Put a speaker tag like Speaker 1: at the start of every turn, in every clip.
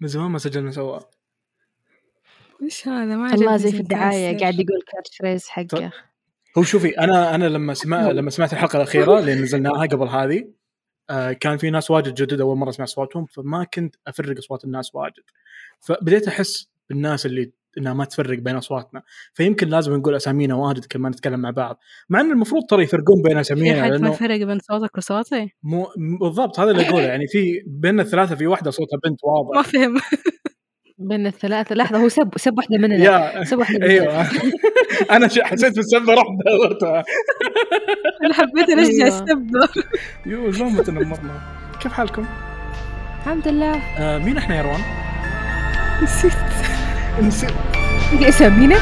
Speaker 1: من زمان ما سجلنا سوا
Speaker 2: ايش هذا ما
Speaker 3: والله
Speaker 2: عجبني
Speaker 3: زي في
Speaker 2: زي
Speaker 3: الدعايه
Speaker 2: كانسر.
Speaker 3: قاعد يقول كاتش فريز حقه
Speaker 1: هو شوفي انا انا لما سمع لما سمعت الحلقه الاخيره اللي نزلناها قبل هذه آه، كان في ناس واجد جدد اول مره اسمع اصواتهم فما كنت افرق اصوات الناس واجد فبديت احس بالناس اللي انها ما تفرق بين اصواتنا فيمكن لازم نقول اسامينا واجد كل ما نتكلم مع بعض مع ان المفروض ترى يفرقون بين
Speaker 2: في
Speaker 1: اسامينا
Speaker 2: حد ما
Speaker 1: لانه
Speaker 2: فرق بين صوتك وصوتي
Speaker 1: مو م- بالضبط هذا اللي اقوله يعني في بيننا الثلاثه في واحده صوتها بنت
Speaker 2: ما
Speaker 1: واضح
Speaker 2: فهم
Speaker 3: بين الثلاثه لحظه هو سب سب واحده مننا
Speaker 1: يا
Speaker 3: سب واحده مننا
Speaker 1: ايوه انا ش- حسيت بالسبه رحت دورتها
Speaker 2: انا حبيت ارجع
Speaker 3: أيوة.
Speaker 2: السبه
Speaker 1: يو زومة تنمرنا كيف حالكم؟
Speaker 3: الحمد لله
Speaker 1: آه مين احنا يا روان؟
Speaker 2: نسيت
Speaker 1: نسيت
Speaker 3: انت اسامينا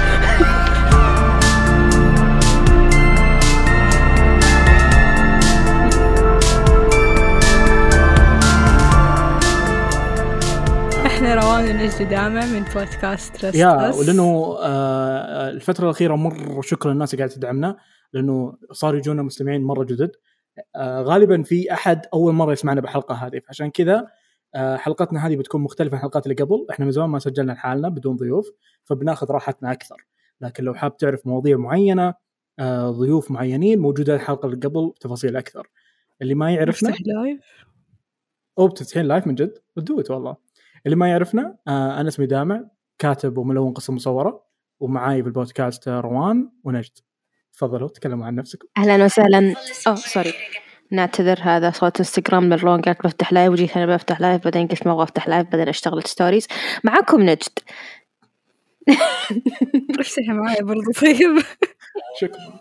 Speaker 2: احنا روان ونجد دامع من بودكاست رست
Speaker 1: يا ولانه آه، الفتره الاخيره مره شكرا الناس اللي قاعده تدعمنا لانه صار يجونا مستمعين مره جدد آه، غالبا في احد اول مره يسمعنا بالحلقه هذه فعشان كذا آه، حلقتنا هذه بتكون مختلفه عن الحلقات اللي قبل احنا من زمان ما سجلنا لحالنا بدون ضيوف فبناخذ راحتنا اكثر لكن لو حاب تعرف مواضيع معينه آه، ضيوف معينين موجوده الحلقه اللي قبل تفاصيل اكثر اللي ما يعرفنا
Speaker 2: نفتح لايف
Speaker 1: او بتفتحين لايف من جد دوت والله اللي ما يعرفنا آه انا اسمي دامع كاتب وملون قصه مصوره ومعاي بالبودكاست آه، روان ونجد تفضلوا تكلموا عن نفسكم
Speaker 3: اهلا وسهلا اوه سوري نعتذر هذا صوت انستغرام من رون قالت بفتح لايف وجيت انا بفتح لايف بعدين قلت ما ابغى افتح لايف بعدين اشتغلت ستوريز معاكم نجد
Speaker 2: افتحي معايا برضو طيب
Speaker 1: شكرا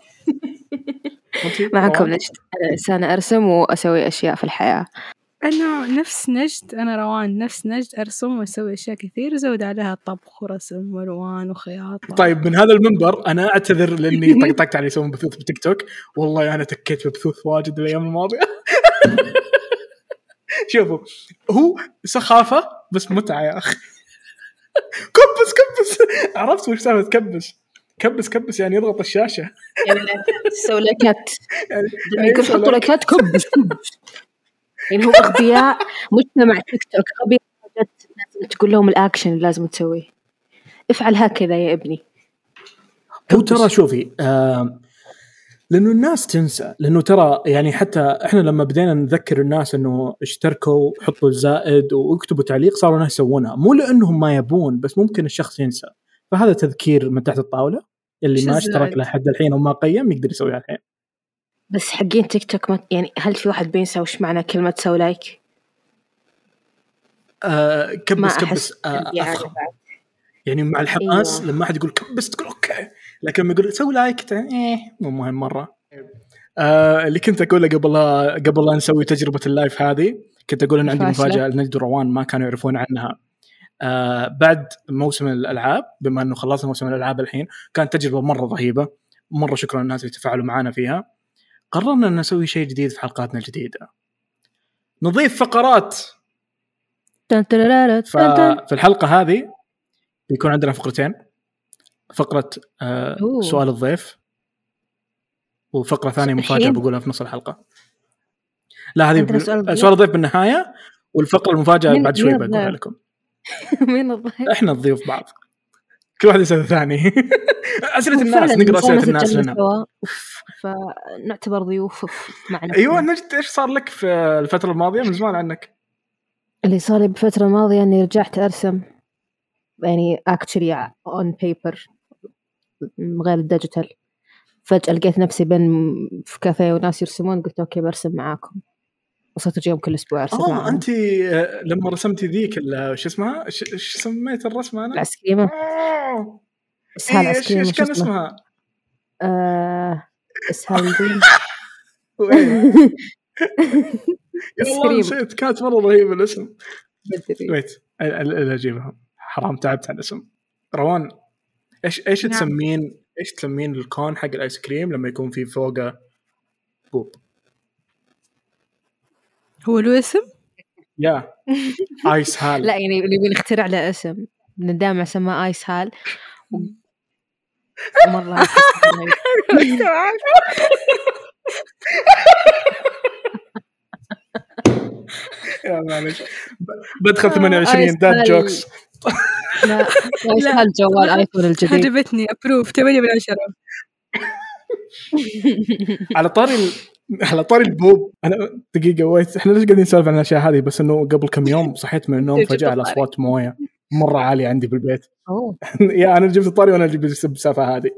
Speaker 1: وأنتي؟
Speaker 3: معاكم
Speaker 1: روان؟
Speaker 3: نجد انا انسانه ارسم واسوي اشياء في الحياه
Speaker 2: انا نفس نجد انا روان نفس نجد ارسم واسوي اشياء كثير زود عليها طبخ ورسم والوان وخياطه
Speaker 1: طيب من هذا المنبر انا اعتذر لاني طقطقت على يسوون بثوث بتيك توك والله انا تكيت ببثوث واجد الايام الماضيه شوفوا هو سخافه بس متعه يا اخي كبس كبس عرفت وش سالفه كبس كبس كبس يعني يضغط الشاشه
Speaker 3: تسوي لايكات
Speaker 1: يعني
Speaker 3: لما يقول
Speaker 1: يسوي
Speaker 3: حطوا لايكات كبش كبش أيوة. يعني هو اغبياء مجتمع تيك توك اغبياء جد لازم تقول لهم الاكشن اللي لازم تسويه افعل هكذا يا ابني
Speaker 1: هو ترى شوفي آم، لانه الناس تنسى لانه ترى يعني حتى احنا لما بدينا نذكر الناس انه اشتركوا حطوا الزائد واكتبوا تعليق صاروا الناس يسوونها مو لانهم ما يبون بس ممكن الشخص ينسى فهذا تذكير من تحت الطاوله اللي
Speaker 2: شو
Speaker 1: ما
Speaker 2: الزائد؟
Speaker 1: اشترك لحد الحين وما قيم يقدر يسويها الحين
Speaker 3: بس حقين تيك توك ما يعني هل في واحد بينسى وش معنى كلمه سوي لايك؟
Speaker 1: آه
Speaker 3: ما
Speaker 1: كبس
Speaker 3: احس
Speaker 1: كبس آه
Speaker 3: يعني
Speaker 1: افخم يعني مع الحماس
Speaker 3: أيوة.
Speaker 1: لما احد يقول كبس تقول اوكي لكن لما يقول سوي لايك تع- ايه مو مهم مره آه اللي كنت اقوله قبل لا قبل لا نسوي تجربه اللايف هذه كنت اقول ان عندي
Speaker 3: فاشلة.
Speaker 1: مفاجاه لنجد وروان ما كانوا يعرفون عنها آه بعد موسم الالعاب بما انه خلصنا موسم الالعاب الحين كانت تجربه مره رهيبه مره شكرا للناس اللي تفاعلوا معنا فيها قررنا ان نسوي شيء جديد في حلقاتنا الجديده نضيف فقرات
Speaker 3: تن- تن- تن- تن.
Speaker 1: ففي الحلقه هذه بيكون عندنا فقرتين فقره آه
Speaker 3: أوه.
Speaker 1: سؤال الضيف وفقره ثانيه مفاجاه
Speaker 3: الحين؟
Speaker 1: بقولها في نص الحلقه لا هذه
Speaker 3: عندنا
Speaker 1: بال-
Speaker 3: سؤال الضيف؟
Speaker 1: سؤال الضيف بالنهايه والفقره المفاجاه
Speaker 3: مين-
Speaker 1: بعد شوي
Speaker 3: مين
Speaker 1: بقولها
Speaker 3: الضيف؟
Speaker 1: لكم
Speaker 3: مين الظاهر؟
Speaker 1: احنا نضيف بعض كل واحد يسال الثاني اسئله الناس
Speaker 3: فعلاً
Speaker 1: نقرا اسئله
Speaker 3: إنسان
Speaker 1: الناس
Speaker 3: سجلنا
Speaker 1: لنا
Speaker 3: سوا. أوف. فنعتبر ضيوف أوف، معنا
Speaker 1: ايوه نجد ايش صار لك في الفتره الماضيه من زمان عنك
Speaker 3: اللي صار لي بالفترة الماضية إني رجعت أرسم يعني actually on paper من غير الديجيتال فجأة لقيت نفسي بين في كافيه وناس يرسمون قلت أوكي برسم معاكم وصرت أجيهم كل أسبوع أرسم
Speaker 1: اه
Speaker 3: معاهم.
Speaker 1: انت لما رسمتي ذيك ال- شو اسمها ش- ش سميت الرسمه انا؟
Speaker 3: العسكريمة
Speaker 1: آه.
Speaker 3: إسهال
Speaker 1: إيه، ايش
Speaker 3: عسكريمة
Speaker 1: ايش
Speaker 3: شو
Speaker 1: كان
Speaker 3: اسمه؟
Speaker 1: اسمها؟
Speaker 3: آه، إسهال
Speaker 1: وإيه؟ يا الله
Speaker 3: سريم.
Speaker 1: نسيت أيوة. كانت مره رهيبه الاسم
Speaker 3: مدري.
Speaker 1: ويت ال- ال- ال- اجيبها حرام تعبت على الاسم روان ايش ايش
Speaker 2: نعم.
Speaker 1: تسمين ايش تسمين الكون حق الايس كريم لما يكون في فوقه بوب
Speaker 2: هو له اسم
Speaker 1: يا ايس هال
Speaker 3: لا يعني نبي نخترع له اسم ندام سماه آيس هال و... مرة
Speaker 1: يا معلش بدخل 28 ذات جوكس
Speaker 3: لا لا يستاهل جوال ايفون الجديد
Speaker 2: عجبتني ابروف 8 من 10
Speaker 1: على طاري ال... على طاري البوب انا دقيقه ويت احنا ليش قاعدين نسولف عن الاشياء هذه بس انه قبل كم يوم صحيت من النوم
Speaker 2: جبت
Speaker 1: فجاه على
Speaker 2: طاري.
Speaker 1: اصوات مويه مره عاليه عندي بالبيت
Speaker 3: أوه.
Speaker 1: يا انا يعني جبت طاري وانا جبت السفه هذه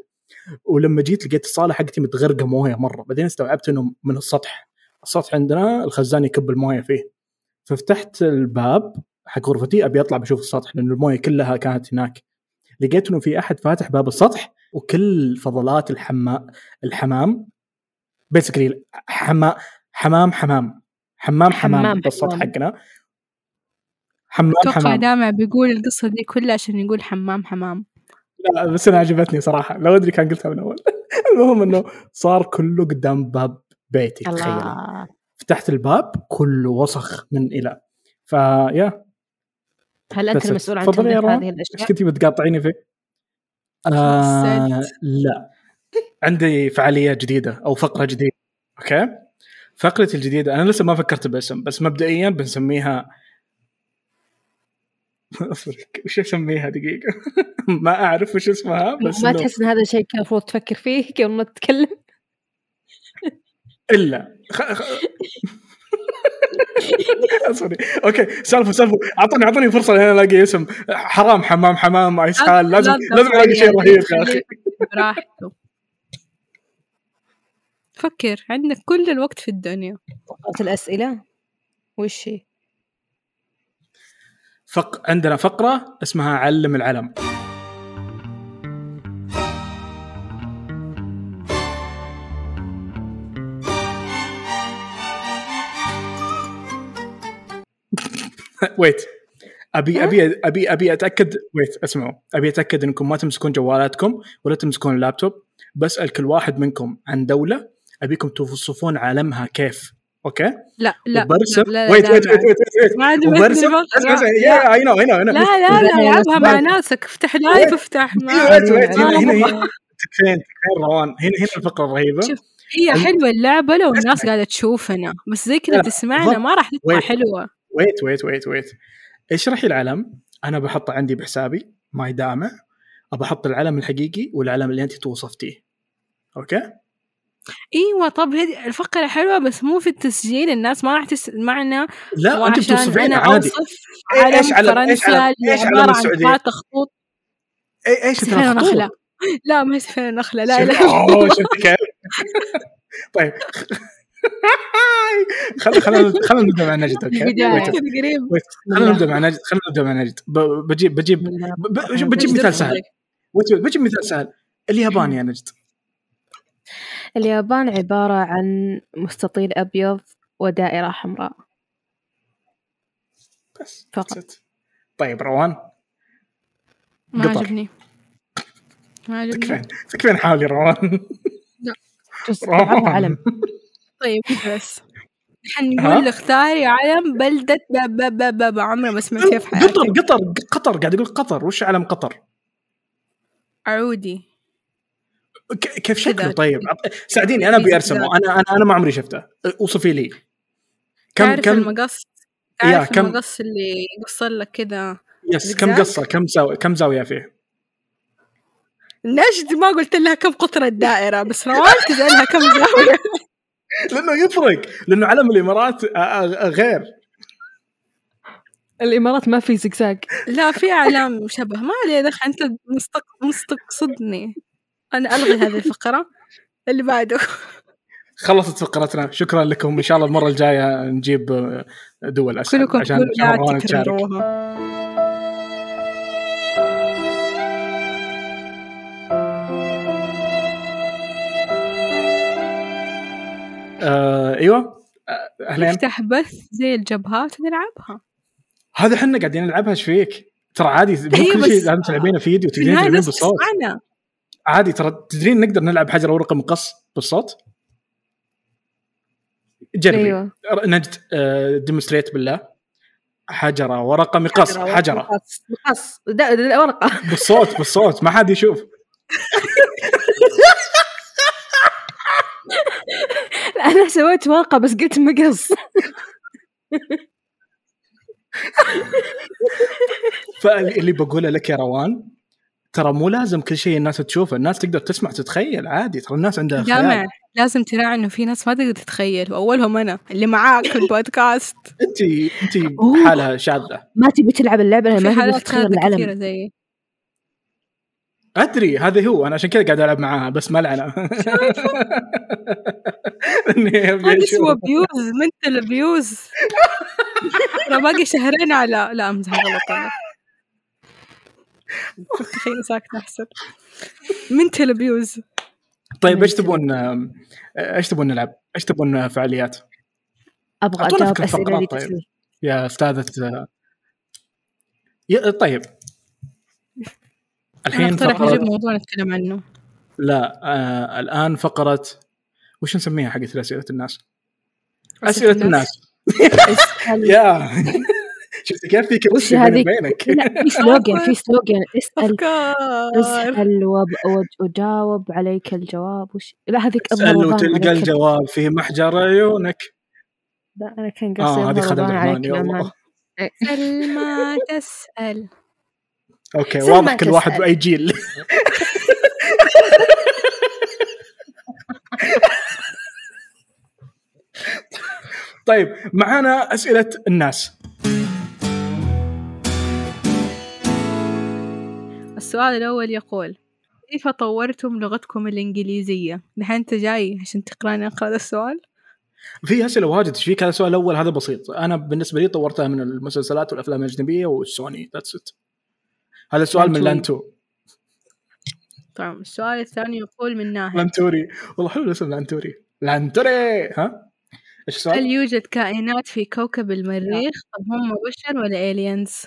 Speaker 1: ولما جيت لقيت الصاله حقتي متغرقه مويه مره بعدين استوعبت انه من السطح السطح عندنا الخزان يكب المويه فيه ففتحت الباب حق غرفتي ابي اطلع بشوف السطح لان المويه كلها كانت هناك لقيت انه في احد فاتح باب السطح وكل فضلات الحمام الحمام بيسكلي حما حمام حمام حمام حمام
Speaker 3: حمام
Speaker 1: بالسطح
Speaker 3: حمام.
Speaker 1: حقنا حمام
Speaker 2: اتوقع
Speaker 1: حمام
Speaker 2: دامع بيقول القصه دي كلها عشان يقول حمام حمام
Speaker 1: لا بس انا عجبتني صراحه لو ادري كان قلتها من اول المهم انه صار كله قدام باب بيتي تخيل
Speaker 3: الله
Speaker 1: فتحت الباب كله وسخ من الى فيا
Speaker 3: هل انت
Speaker 1: بس-
Speaker 3: المسؤول عن
Speaker 1: تفضلي يا
Speaker 3: تنظيف
Speaker 1: روان.
Speaker 3: هذه
Speaker 1: ايش
Speaker 3: الاشياء؟
Speaker 1: كنتي بتقاطعيني فيه؟ آه
Speaker 2: خلاص،
Speaker 1: لا عندي فعاليه جديده او فقره جديده اوكي فقرتي الجديده انا لسه ما فكرت باسم بس مبدئيا بنسميها اصبر وش اسميها دقيقه ما اعرف وش اسمها بس
Speaker 3: ما
Speaker 1: إنه-
Speaker 3: تحس ان هذا الشيء كان المفروض تفكر فيه قبل ما تتكلم؟
Speaker 1: الا خ... خ... سوري اوكي سالفه سالفه اعطوني اعطوني فرصه لين الاقي اسم حرام حمام حمام ايس حال لازم
Speaker 2: لا
Speaker 1: لازم الاقي شيء
Speaker 2: تضغط
Speaker 1: رهيب
Speaker 2: عليها.
Speaker 1: يا اخي
Speaker 2: براحته فكر عندك كل الوقت في الدنيا
Speaker 3: فقرة الاسئله وش هي؟
Speaker 1: فق... عندنا فقره اسمها علم العلم ويت
Speaker 2: إيه؟
Speaker 1: ابي ابي ابي ابي اتاكد ويت اسمعوا ابي اتاكد انكم ما تمسكون جوالاتكم ولا تمسكون اللابتوب بسال كل واحد منكم عن دوله ابيكم توصفون عالمها كيف اوكي
Speaker 2: لا لا
Speaker 1: وبرسم
Speaker 2: لا، لا،
Speaker 1: ويت
Speaker 2: لا،
Speaker 1: ويت
Speaker 2: لا.
Speaker 1: ويت ويت ويت
Speaker 2: ما عاد مثل
Speaker 1: وبرسم
Speaker 2: الفقرة.
Speaker 1: اسمع اسمع يا اي نو اي نو اي نو
Speaker 2: لا لا لا
Speaker 3: لا،
Speaker 2: العبها
Speaker 3: لا،
Speaker 2: مع
Speaker 1: لا.
Speaker 2: ناسك افتح لايف افتح مع
Speaker 1: ويت ويت هنا هنا هنا
Speaker 2: آه.
Speaker 1: تكفين تكفين روان هنا هنا الفقره الرهيبه
Speaker 2: شوف، هي حلوه اللعبه لو الناس
Speaker 1: اسمع.
Speaker 2: قاعده تشوفنا بس زي كذا
Speaker 1: لا،
Speaker 2: تسمعنا
Speaker 1: بالضبط.
Speaker 2: ما راح تطلع
Speaker 1: ويت.
Speaker 2: حلوه
Speaker 1: ويت ويت ويت ويت اشرحي العلم انا بحطه عندي بحسابي ما يدامع بحط العلم الحقيقي والعلم اللي انت توصفتيه اوكي
Speaker 2: ايوه طب هذه الفقره حلوه بس مو في التسجيل الناس ما راح تسمعنا
Speaker 1: لا انت
Speaker 2: وعشان
Speaker 1: بتوصفين
Speaker 2: انا
Speaker 1: عادي
Speaker 2: اوصف
Speaker 1: إيه،
Speaker 2: علم
Speaker 1: إيش علم- إيش علم- إيش
Speaker 2: فرنسا اللي
Speaker 1: علم
Speaker 2: عباره عن
Speaker 1: السعودية؟
Speaker 2: ثلاث خطوط
Speaker 1: إيه، ايش
Speaker 2: سفينه
Speaker 1: الخطوط؟
Speaker 2: نخله لا ما هي سفينه نخله لا
Speaker 1: شفت-
Speaker 2: لا
Speaker 1: اوه شفت كيف؟ طيب خل خل خلينا نبدا مع نجد اوكي
Speaker 3: البداية.
Speaker 1: ويت.
Speaker 2: قريب
Speaker 1: ويت. خلينا نبدا مع نجد خلينا نبدا مع نجد ب- بجيب بجيب ب- ب- بجيب مثال سهل ويت- ويت، بجيب مثال سهل
Speaker 2: إيه.
Speaker 1: اليابان يا نجد
Speaker 3: اليابان عبارة عن مستطيل أبيض ودائرة حمراء
Speaker 1: بس
Speaker 3: فقط.
Speaker 1: that's it. طيب روان
Speaker 2: ما
Speaker 1: قطر.
Speaker 2: عجبني ما عجبني
Speaker 1: تكفين تكفين حالي روان
Speaker 3: جزء
Speaker 1: روان
Speaker 3: علم
Speaker 2: طيب بس
Speaker 1: ها؟
Speaker 2: حنقول اختاري علم بلدة بابا بابا باب عمري ما سمعت فيها في حياتي
Speaker 1: قطر قطر قطر قاعد يقول قطر وش علم قطر؟
Speaker 2: عودي
Speaker 1: ك- كيف شكله
Speaker 2: كذا.
Speaker 1: طيب؟
Speaker 2: إيه.
Speaker 1: عط- ساعديني انا ابي ارسمه انا انا انا ما عمري شفته اوصفي لي كم
Speaker 2: تعرف
Speaker 1: كم
Speaker 2: المقص
Speaker 1: يا،
Speaker 2: تعرف
Speaker 1: كم-
Speaker 2: المقص اللي يقصر لك كذا
Speaker 1: يس كم
Speaker 2: زجاج؟
Speaker 1: قصه كم زاويه كم زاويه فيه؟
Speaker 2: نجد ما قلت لها كم قطر الدائرة بس روان تسألها كم زاوية
Speaker 1: لانه يفرق لانه علم الامارات آ- آ- غير
Speaker 3: الإمارات ما في زقزاق
Speaker 2: لا في أعلام شبه ما عليه دخل أنت مستق- مستقصدني أنا ألغي هذه الفقرة اللي بعده
Speaker 1: خلصت فقرتنا شكرا لكم ان شاء الله المره الجايه نجيب آه، دول اسهل
Speaker 2: كلكم
Speaker 1: عشان
Speaker 2: تقولوا
Speaker 1: عشان
Speaker 2: لا
Speaker 1: روان تشارك
Speaker 2: تكرروها
Speaker 1: آه ايوه آه، اهلين
Speaker 2: نفتح بث زي الجبهات ونلعبها
Speaker 1: هذا احنا قاعدين نلعبها ايش فيك؟ ترى
Speaker 3: إيه،
Speaker 1: عادي مو
Speaker 2: أيوة
Speaker 1: كل
Speaker 2: بس-
Speaker 1: شيء لازم تلعبينه فيديو
Speaker 2: في
Speaker 1: تقدرين
Speaker 2: النهاية
Speaker 1: تلعبين
Speaker 2: الناس
Speaker 1: بالصوت
Speaker 2: بتسمعنا
Speaker 1: عادي ترى تدرين نقدر نلعب حجر ورقه مقص بالصوت جربي أيوة.
Speaker 3: أيوة
Speaker 1: نجد ديمونستريت بالله حجره ورقه مقص حجره
Speaker 3: مقص مقص دا- دا- دا- ورقة
Speaker 1: بالصوت بالصوت ما حد يشوف
Speaker 3: لا، أنا سويت ورقة بس قلت مقص
Speaker 1: فاللي بقوله لك يا روان ترى مو لازم كل شيء الناس تشوفه الناس تقدر تسمع تتخيل عادي ترى الناس عندها
Speaker 2: جامع
Speaker 1: خيال
Speaker 2: لازم تراعي انه في ناس ما تقدر تتخيل واولهم انا اللي معاك في البودكاست
Speaker 1: انت انت
Speaker 3: أوه.
Speaker 1: حالها شاذه
Speaker 3: ما تبي تلعب اللعبه لأنها
Speaker 2: في
Speaker 3: ما تبي
Speaker 2: حالات
Speaker 3: تتخيل
Speaker 2: خير كثيرة
Speaker 3: العالم
Speaker 2: زي
Speaker 1: ادري هذا هو انا عشان كذا قاعد العب معاها بس ملعنه إني أبي
Speaker 2: هذا اسمه
Speaker 1: أشوف.
Speaker 2: بيوز منتل بيوز ترى باقي شهرين على لا امزح غلط انا كنت خير ساكتة احسن منتل بيوز
Speaker 1: طيب ايش تبون ايش تبون نلعب؟ ايش تبون فعاليات؟
Speaker 3: ابغى
Speaker 1: أعطونا
Speaker 3: اجاوب
Speaker 1: فكرة
Speaker 3: اسئله
Speaker 1: فقرات
Speaker 3: لي
Speaker 1: طيب.
Speaker 3: تصير.
Speaker 1: يا استاذه يا طيب
Speaker 2: انا
Speaker 1: الحين
Speaker 2: اقترح
Speaker 1: فقره
Speaker 2: نجيب موضوع نتكلم عنه
Speaker 1: لا آه الان فقره وش نسميها حقت اسئله الناس؟ اسئله الناس
Speaker 3: اسأل-
Speaker 1: يا شفت كيف في
Speaker 3: وش
Speaker 1: كيمستري بيني
Speaker 3: هذيك؟
Speaker 1: وبينك
Speaker 3: لا في سلوجن في سلوجن اسال
Speaker 2: افكار
Speaker 3: اسال وب- وج- وجاوب عليك الجواب وش لا هذيك ابو
Speaker 1: اسال
Speaker 3: رمضان عليك
Speaker 1: وتلقى
Speaker 3: ال-
Speaker 1: الجواب في محجر عيونك
Speaker 3: لا انا كان قصدي
Speaker 1: اه
Speaker 2: آه،
Speaker 3: ابو
Speaker 1: هذه خدم
Speaker 3: رمضان
Speaker 1: درمان
Speaker 3: عليك
Speaker 1: يا
Speaker 3: الأمان.
Speaker 1: الله
Speaker 2: سل ما تسال
Speaker 1: اوكي
Speaker 3: سل
Speaker 1: واضح
Speaker 3: ما
Speaker 1: كل واحد
Speaker 3: تسأل.
Speaker 1: باي جيل طيب معانا اسئله الناس
Speaker 2: السؤال الاول يقول كيف طورتم لغتكم الانجليزيه؟ دحين انت جاي عشان تقراني اقرا هذا السؤال؟
Speaker 1: في اسئله واجد ايش فيك هذا السؤال الاول هذا بسيط انا بالنسبه لي طورتها من المسلسلات والافلام الاجنبيه والسوني ذاتس ات هذا سؤال من لانتو
Speaker 2: طبعا طيب، السؤال الثاني يقول من ناحيه
Speaker 1: لانتوري والله حلو الاسم لانتوري لانتوري ها ايش
Speaker 2: هل
Speaker 1: السؤال؟
Speaker 2: يوجد كائنات في كوكب المريخ طب هم بشر ولا الينز؟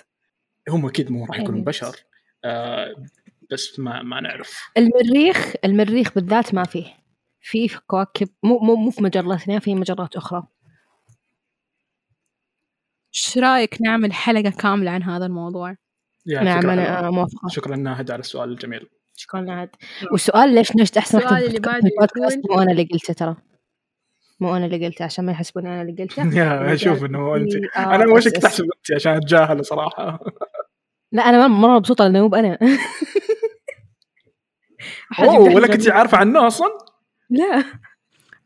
Speaker 1: هم اكيد مو راح يكونوا
Speaker 3: Aliens.
Speaker 1: بشر آه بس ما ما نعرف
Speaker 3: المريخ المريخ بالذات ما فيه في في كواكب مو مو مو في مجرتنا في مجرات اخرى
Speaker 2: ايش رايك نعمل حلقه كامله عن هذا الموضوع؟
Speaker 1: يا
Speaker 3: نعم
Speaker 1: فكرة
Speaker 3: انا
Speaker 1: حلوة.
Speaker 2: آه.
Speaker 3: موافقه
Speaker 1: شكرا ناهد على السؤال الجميل
Speaker 3: شكرا لعد والسؤال ليش نجد احسن
Speaker 2: نعم. السؤال
Speaker 3: في
Speaker 2: اللي
Speaker 3: البودكاست-
Speaker 2: بعده
Speaker 3: البودكاست
Speaker 2: يقول-
Speaker 3: مو انا اللي قلته ترى مو انا اللي قلته عشان ما يحسبوني انا اللي قلته آه،
Speaker 1: يا اشوف
Speaker 2: يعني
Speaker 1: انه انت
Speaker 2: آه،
Speaker 1: انا اول شيء كنت احسب انت عشان اتجاهل صراحه
Speaker 3: لا انا مره مبسوطه لانه مو بانا أحد
Speaker 1: اوه ولا
Speaker 3: يمدحني
Speaker 1: كنت
Speaker 3: جميل.
Speaker 1: عارفه عنه اصلا
Speaker 3: لا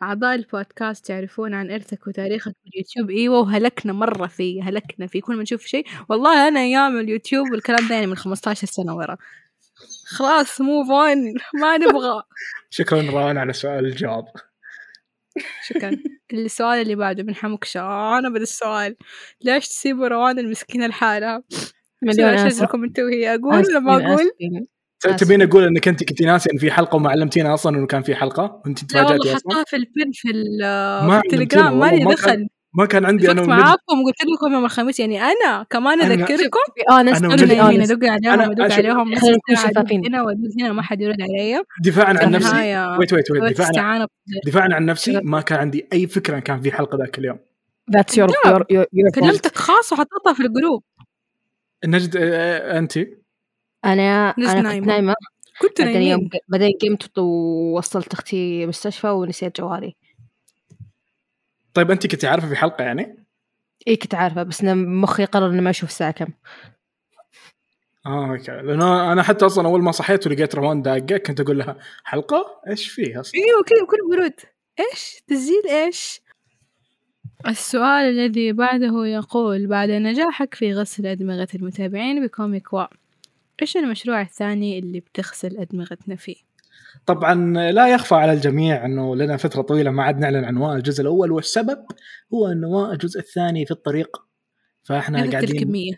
Speaker 2: اعضاء البودكاست يعرفون عن ارثك وتاريخك باليوتيوب ايوه وهلكنا مره فيه هلكنا فيه كل ما نشوف شيء والله انا ايام اليوتيوب والكلام ده يعني من 15 سنه ورا خلاص مو فون ما نبغى
Speaker 1: شكرا ران على سؤال الجواب
Speaker 2: شكرا السؤال اللي بعده من حمك شان ابدا السؤال ليش تسيبوا روان المسكينه لحالها؟
Speaker 3: مليون
Speaker 2: ايش
Speaker 3: آسف.
Speaker 2: لكم انتوا هي اقول ولا ما
Speaker 3: آسفين،
Speaker 2: اقول؟
Speaker 3: آسفين.
Speaker 1: ت- تبين اقول انك انت كنت ناسي ان في حلقه وما علمتينا اصلا انه كان في حلقه وانت
Speaker 2: لا
Speaker 1: تفاجاتي
Speaker 2: والله
Speaker 1: اصلا
Speaker 2: حطها في البن في, ال-
Speaker 1: ما
Speaker 2: في
Speaker 1: علمتنا
Speaker 2: التليجرام ماني
Speaker 1: والله، ما
Speaker 2: دخل
Speaker 1: ما كان عندي انا
Speaker 2: اتفقت
Speaker 1: ومن-
Speaker 2: معاكم وقلت لكم يوم الخميس يعني انا كمان
Speaker 1: أنا-
Speaker 2: اذكركم
Speaker 3: To be honest،
Speaker 1: أنا
Speaker 3: to
Speaker 2: انا
Speaker 1: وجدت-
Speaker 3: be
Speaker 2: نايمين
Speaker 3: honest.
Speaker 2: ادق عليهم
Speaker 1: أنا-
Speaker 2: ادق
Speaker 1: أشوف-
Speaker 2: عليهم نص
Speaker 3: خلينا نكون
Speaker 2: ساعه أدق
Speaker 3: شفافين.
Speaker 2: هنا وادق هنا ما حد يرد علي
Speaker 1: دفاعا عن نفسي
Speaker 2: النهاية
Speaker 1: ويت ويت ويت دفاعا
Speaker 2: استعانة
Speaker 1: دفاعا عن نفسي ما كان عندي اي فكره إن كان في حلقه ذاك اليوم
Speaker 3: That's your-
Speaker 2: لا.
Speaker 3: your- your- your fault.
Speaker 2: كلمتك خاص وحطيتها في الجروب
Speaker 1: نجد آه، آه، انت
Speaker 3: انا
Speaker 2: لسه
Speaker 3: انا
Speaker 2: نايمة.
Speaker 3: كنت نايمه
Speaker 2: كنت
Speaker 3: بعدين
Speaker 2: نايمين
Speaker 3: يوم بعدين قمت ووصلت اختي مستشفى ونسيت جوالي
Speaker 1: طيب انت كنت عارفه في حلقه يعني؟
Speaker 3: اي كنت عارفه بس إنه مخي قرر انه ما اشوف الساعه كم
Speaker 1: اه اوكي لانه انا حتى اصلا اول ما صحيت ولقيت روان داقه كنت اقول لها حلقه ايش فيها اصلا؟
Speaker 2: ايوه كذا بكل برود ايش تسجيل ايش السؤال الذي بعده يقول بعد نجاحك في غسل أدمغة المتابعين بكوميك وا إيش المشروع الثاني اللي بتغسل أدمغتنا فيه؟
Speaker 1: طبعا لا يخفى على الجميع انه لنا فتره طويله ما عاد نعلن عنوان الجزء الاول والسبب هو انه الجزء الثاني في الطريق فاحنا
Speaker 2: هذا
Speaker 1: قاعدين
Speaker 2: التركمية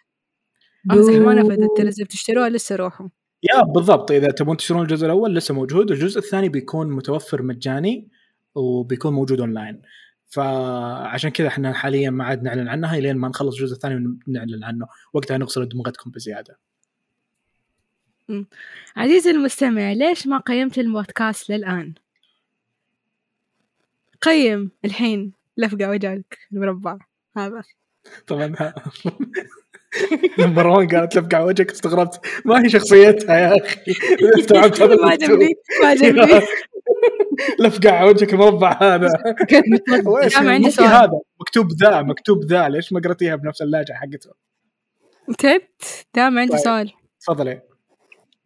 Speaker 2: أمزح ما نفذت الترزب تشتروها لسه روحوا
Speaker 1: يا بالضبط اذا تبون تشترون الجزء الاول لسه موجود والجزء الثاني بيكون متوفر مجاني وبيكون موجود اونلاين فعشان كذا احنا حاليا ما عاد نعلن عنها الين ما نخلص الجزء الثاني ونعلن عنه وقتها نغسل دماغتكم بزياده
Speaker 2: عزيزي المستمع ليش ما قيمت البودكاست للآن؟ قيم الحين لفقة وجهك المربع هذا
Speaker 1: طبعا لما روان قالت لفقع وجهك استغربت ما هي شخصيتها يا اخي استوعبت هذا
Speaker 2: ما
Speaker 1: الأسلوب.
Speaker 2: عجبني ما عجبني
Speaker 1: لفقع وجهك المربع هذا
Speaker 3: كنت مترددة.
Speaker 1: وإيش-
Speaker 2: عندي
Speaker 1: مو في
Speaker 2: سؤال.
Speaker 1: هذا مكتوب ذا مكتوب ذا ليش ما قريتيها بنفس اللهجه حقته
Speaker 2: تعبت دام عندي
Speaker 1: طيب.
Speaker 2: سؤال
Speaker 1: تفضلي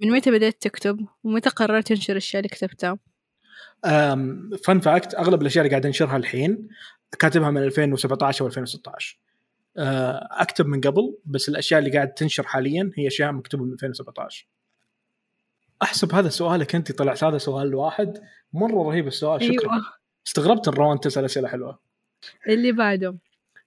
Speaker 2: من متى بدأت تكتب ومتى قررت تنشر الأشياء اللي كتبتها
Speaker 1: فان فاكت اغلب الاشياء اللي قاعد انشرها الحين كاتبها من 2017 او 2016 آه، اكتب من قبل بس الاشياء اللي قاعد تنشر حاليا هي اشياء مكتوبه من 2017 احسب هذا سؤالك انت طلعت هذا سؤال واحد مره رهيب السؤال شكرا
Speaker 2: أيوة
Speaker 1: استغربت ان روان تسال اسئله حلوه
Speaker 2: اللي بعده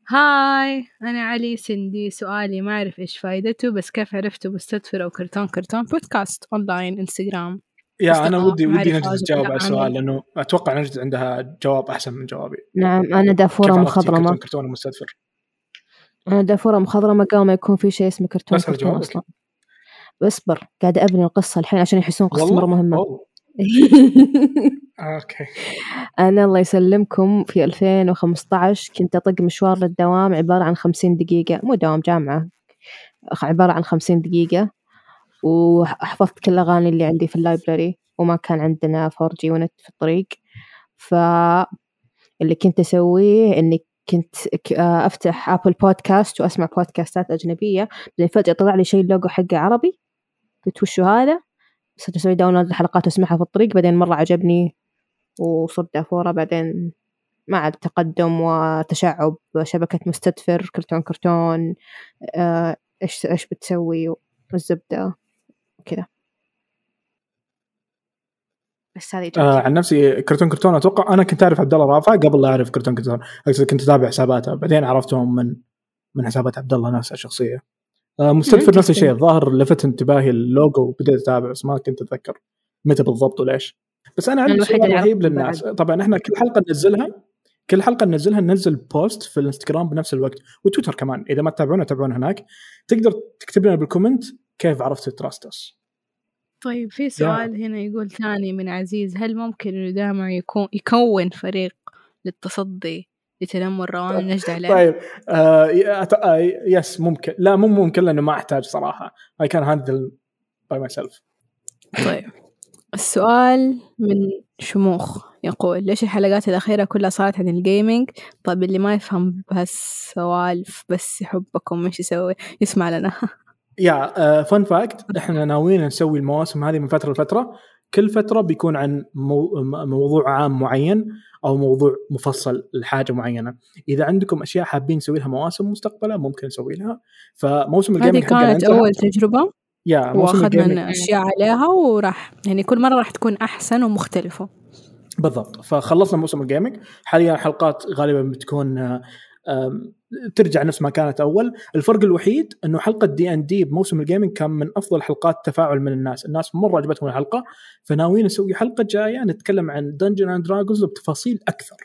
Speaker 2: هاي أنا علي سندي سؤالي ما أعرف إيش فايدته بس كيف عرفته بالصدفة أو كرتون كرتون بودكاست أونلاين إنستغرام
Speaker 1: يا انا
Speaker 2: أصدقاء،
Speaker 1: ودي ودي
Speaker 2: معرفة،
Speaker 1: نجد تجاوب على
Speaker 2: عمل.
Speaker 1: السؤال لانه اتوقع نجد عندها جواب احسن من جوابي
Speaker 3: نعم أنا
Speaker 1: كيف
Speaker 3: دافورة
Speaker 1: عرفتي كرتون-
Speaker 3: مخضرمة
Speaker 1: كرتون مستدفر
Speaker 3: أنا دافورة مخضرمة قبل ما يكون في شيء اسمه كرتون
Speaker 1: بس على
Speaker 3: كرتون
Speaker 1: جوابك.
Speaker 3: أصلا اصبر قاعدة أبني القصة الحين عشان يحسون قصة
Speaker 1: والله؟ آه،
Speaker 3: مرة مهمة
Speaker 1: أوه، اوكي
Speaker 3: أنا الله يسلمكم في 2015 كنت أطق مشوار للدوام عبارة عن 50 دقيقة مو دوام جامعة أخ- عبارة عن 50 دقيقة وحفظت كل الأغاني اللي عندي في اللايبراري وما كان عندنا 4G ونت في الطريق ف اللي كنت أسويه إني كنت ك- آه، أفتح أبل بودكاست وأسمع بودكاستات أجنبية بعدين فجأة طلع لي شيء اللوجو حقه عربي قلت وشو هذا صرت أسوي داونلود الحلقات وأسمعها في الطريق بعدين مرة عجبني وصرت دافورة بعدين مع التقدم وتشعب شبكة مستدفر كرتون كرتون آه، إيش إيش بتسوي والزبدة وكذا بس هذه
Speaker 1: آه
Speaker 3: إجابتي.
Speaker 1: عن نفسي كرتون كرتون اتوقع انا كنت اعرف عبد الله رافع قبل لا اعرف كرتون كرتون أقصد كنت اتابع حساباته بعدين عرفتهم من من حسابات عبد الله نفسه الشخصيه آه مستدفر نفس الشيء الظاهر لفت انتباهي اللوجو وبديت اتابع بس ما كنت اتذكر متى بالضبط وليش بس انا عندي
Speaker 3: الوحيدة
Speaker 1: سؤال
Speaker 3: اللي
Speaker 1: رهيب
Speaker 3: أعرفها
Speaker 1: للناس طبعا احنا كل حلقه ننزلها كل حلقه ننزلها ننزل بوست في الانستغرام بنفس الوقت وتويتر كمان اذا ما تتابعونا تابعونا هناك تقدر تكتب لنا بالكومنت كيف عرفت تراستس
Speaker 2: طيب في سؤال هنا يقول ثاني من عزيز هل ممكن إنه دائما يكون يكون فريق للتصدي لتنمر روان نجد عليه؟
Speaker 1: طيب آه ي- أت- آه، يس ممكن لا مو ممكن لانه ما احتاج صراحه اي كان هاندل باي ماي سيلف
Speaker 2: طيب السؤال من شموخ يقول ليش الحلقات الأخيرة كلها صارت عن الجيمنج طيب اللي ما يفهم بهالسوالف بس يحبكم ايش يسوي يسمع لنا
Speaker 1: يا فان فاكت احنا ناويين نسوي المواسم هذه من فتره لفتره كل فتره بيكون عن مو... م- موضوع عام معين او موضوع مفصل لحاجه معينه اذا عندكم اشياء حابين نسوي لها مواسم مستقبلا ممكن نسوي لها فموسم
Speaker 2: هذه
Speaker 1: الجيمنج حقنا
Speaker 2: كانت
Speaker 1: انتهى.
Speaker 2: أول تجربة
Speaker 1: يا موسم الجيمنج
Speaker 2: وأخذنا أشياء عليها وراح يعني كل مرة راح تكون أحسن ومختلفة
Speaker 1: بالضبط فخلصنا موسم الجيمنج حاليا حلقات غالبا بتكون آه، آم، ترجع نفس ما كانت اول الفرق الوحيد انه حلقه دي ان دي بموسم الجيمنج كان من افضل حلقات تفاعل من الناس الناس مره عجبتهم الحلقه فناويين نسوي حلقه جايه نتكلم عن دنجن اند دراجونز بتفاصيل اكثر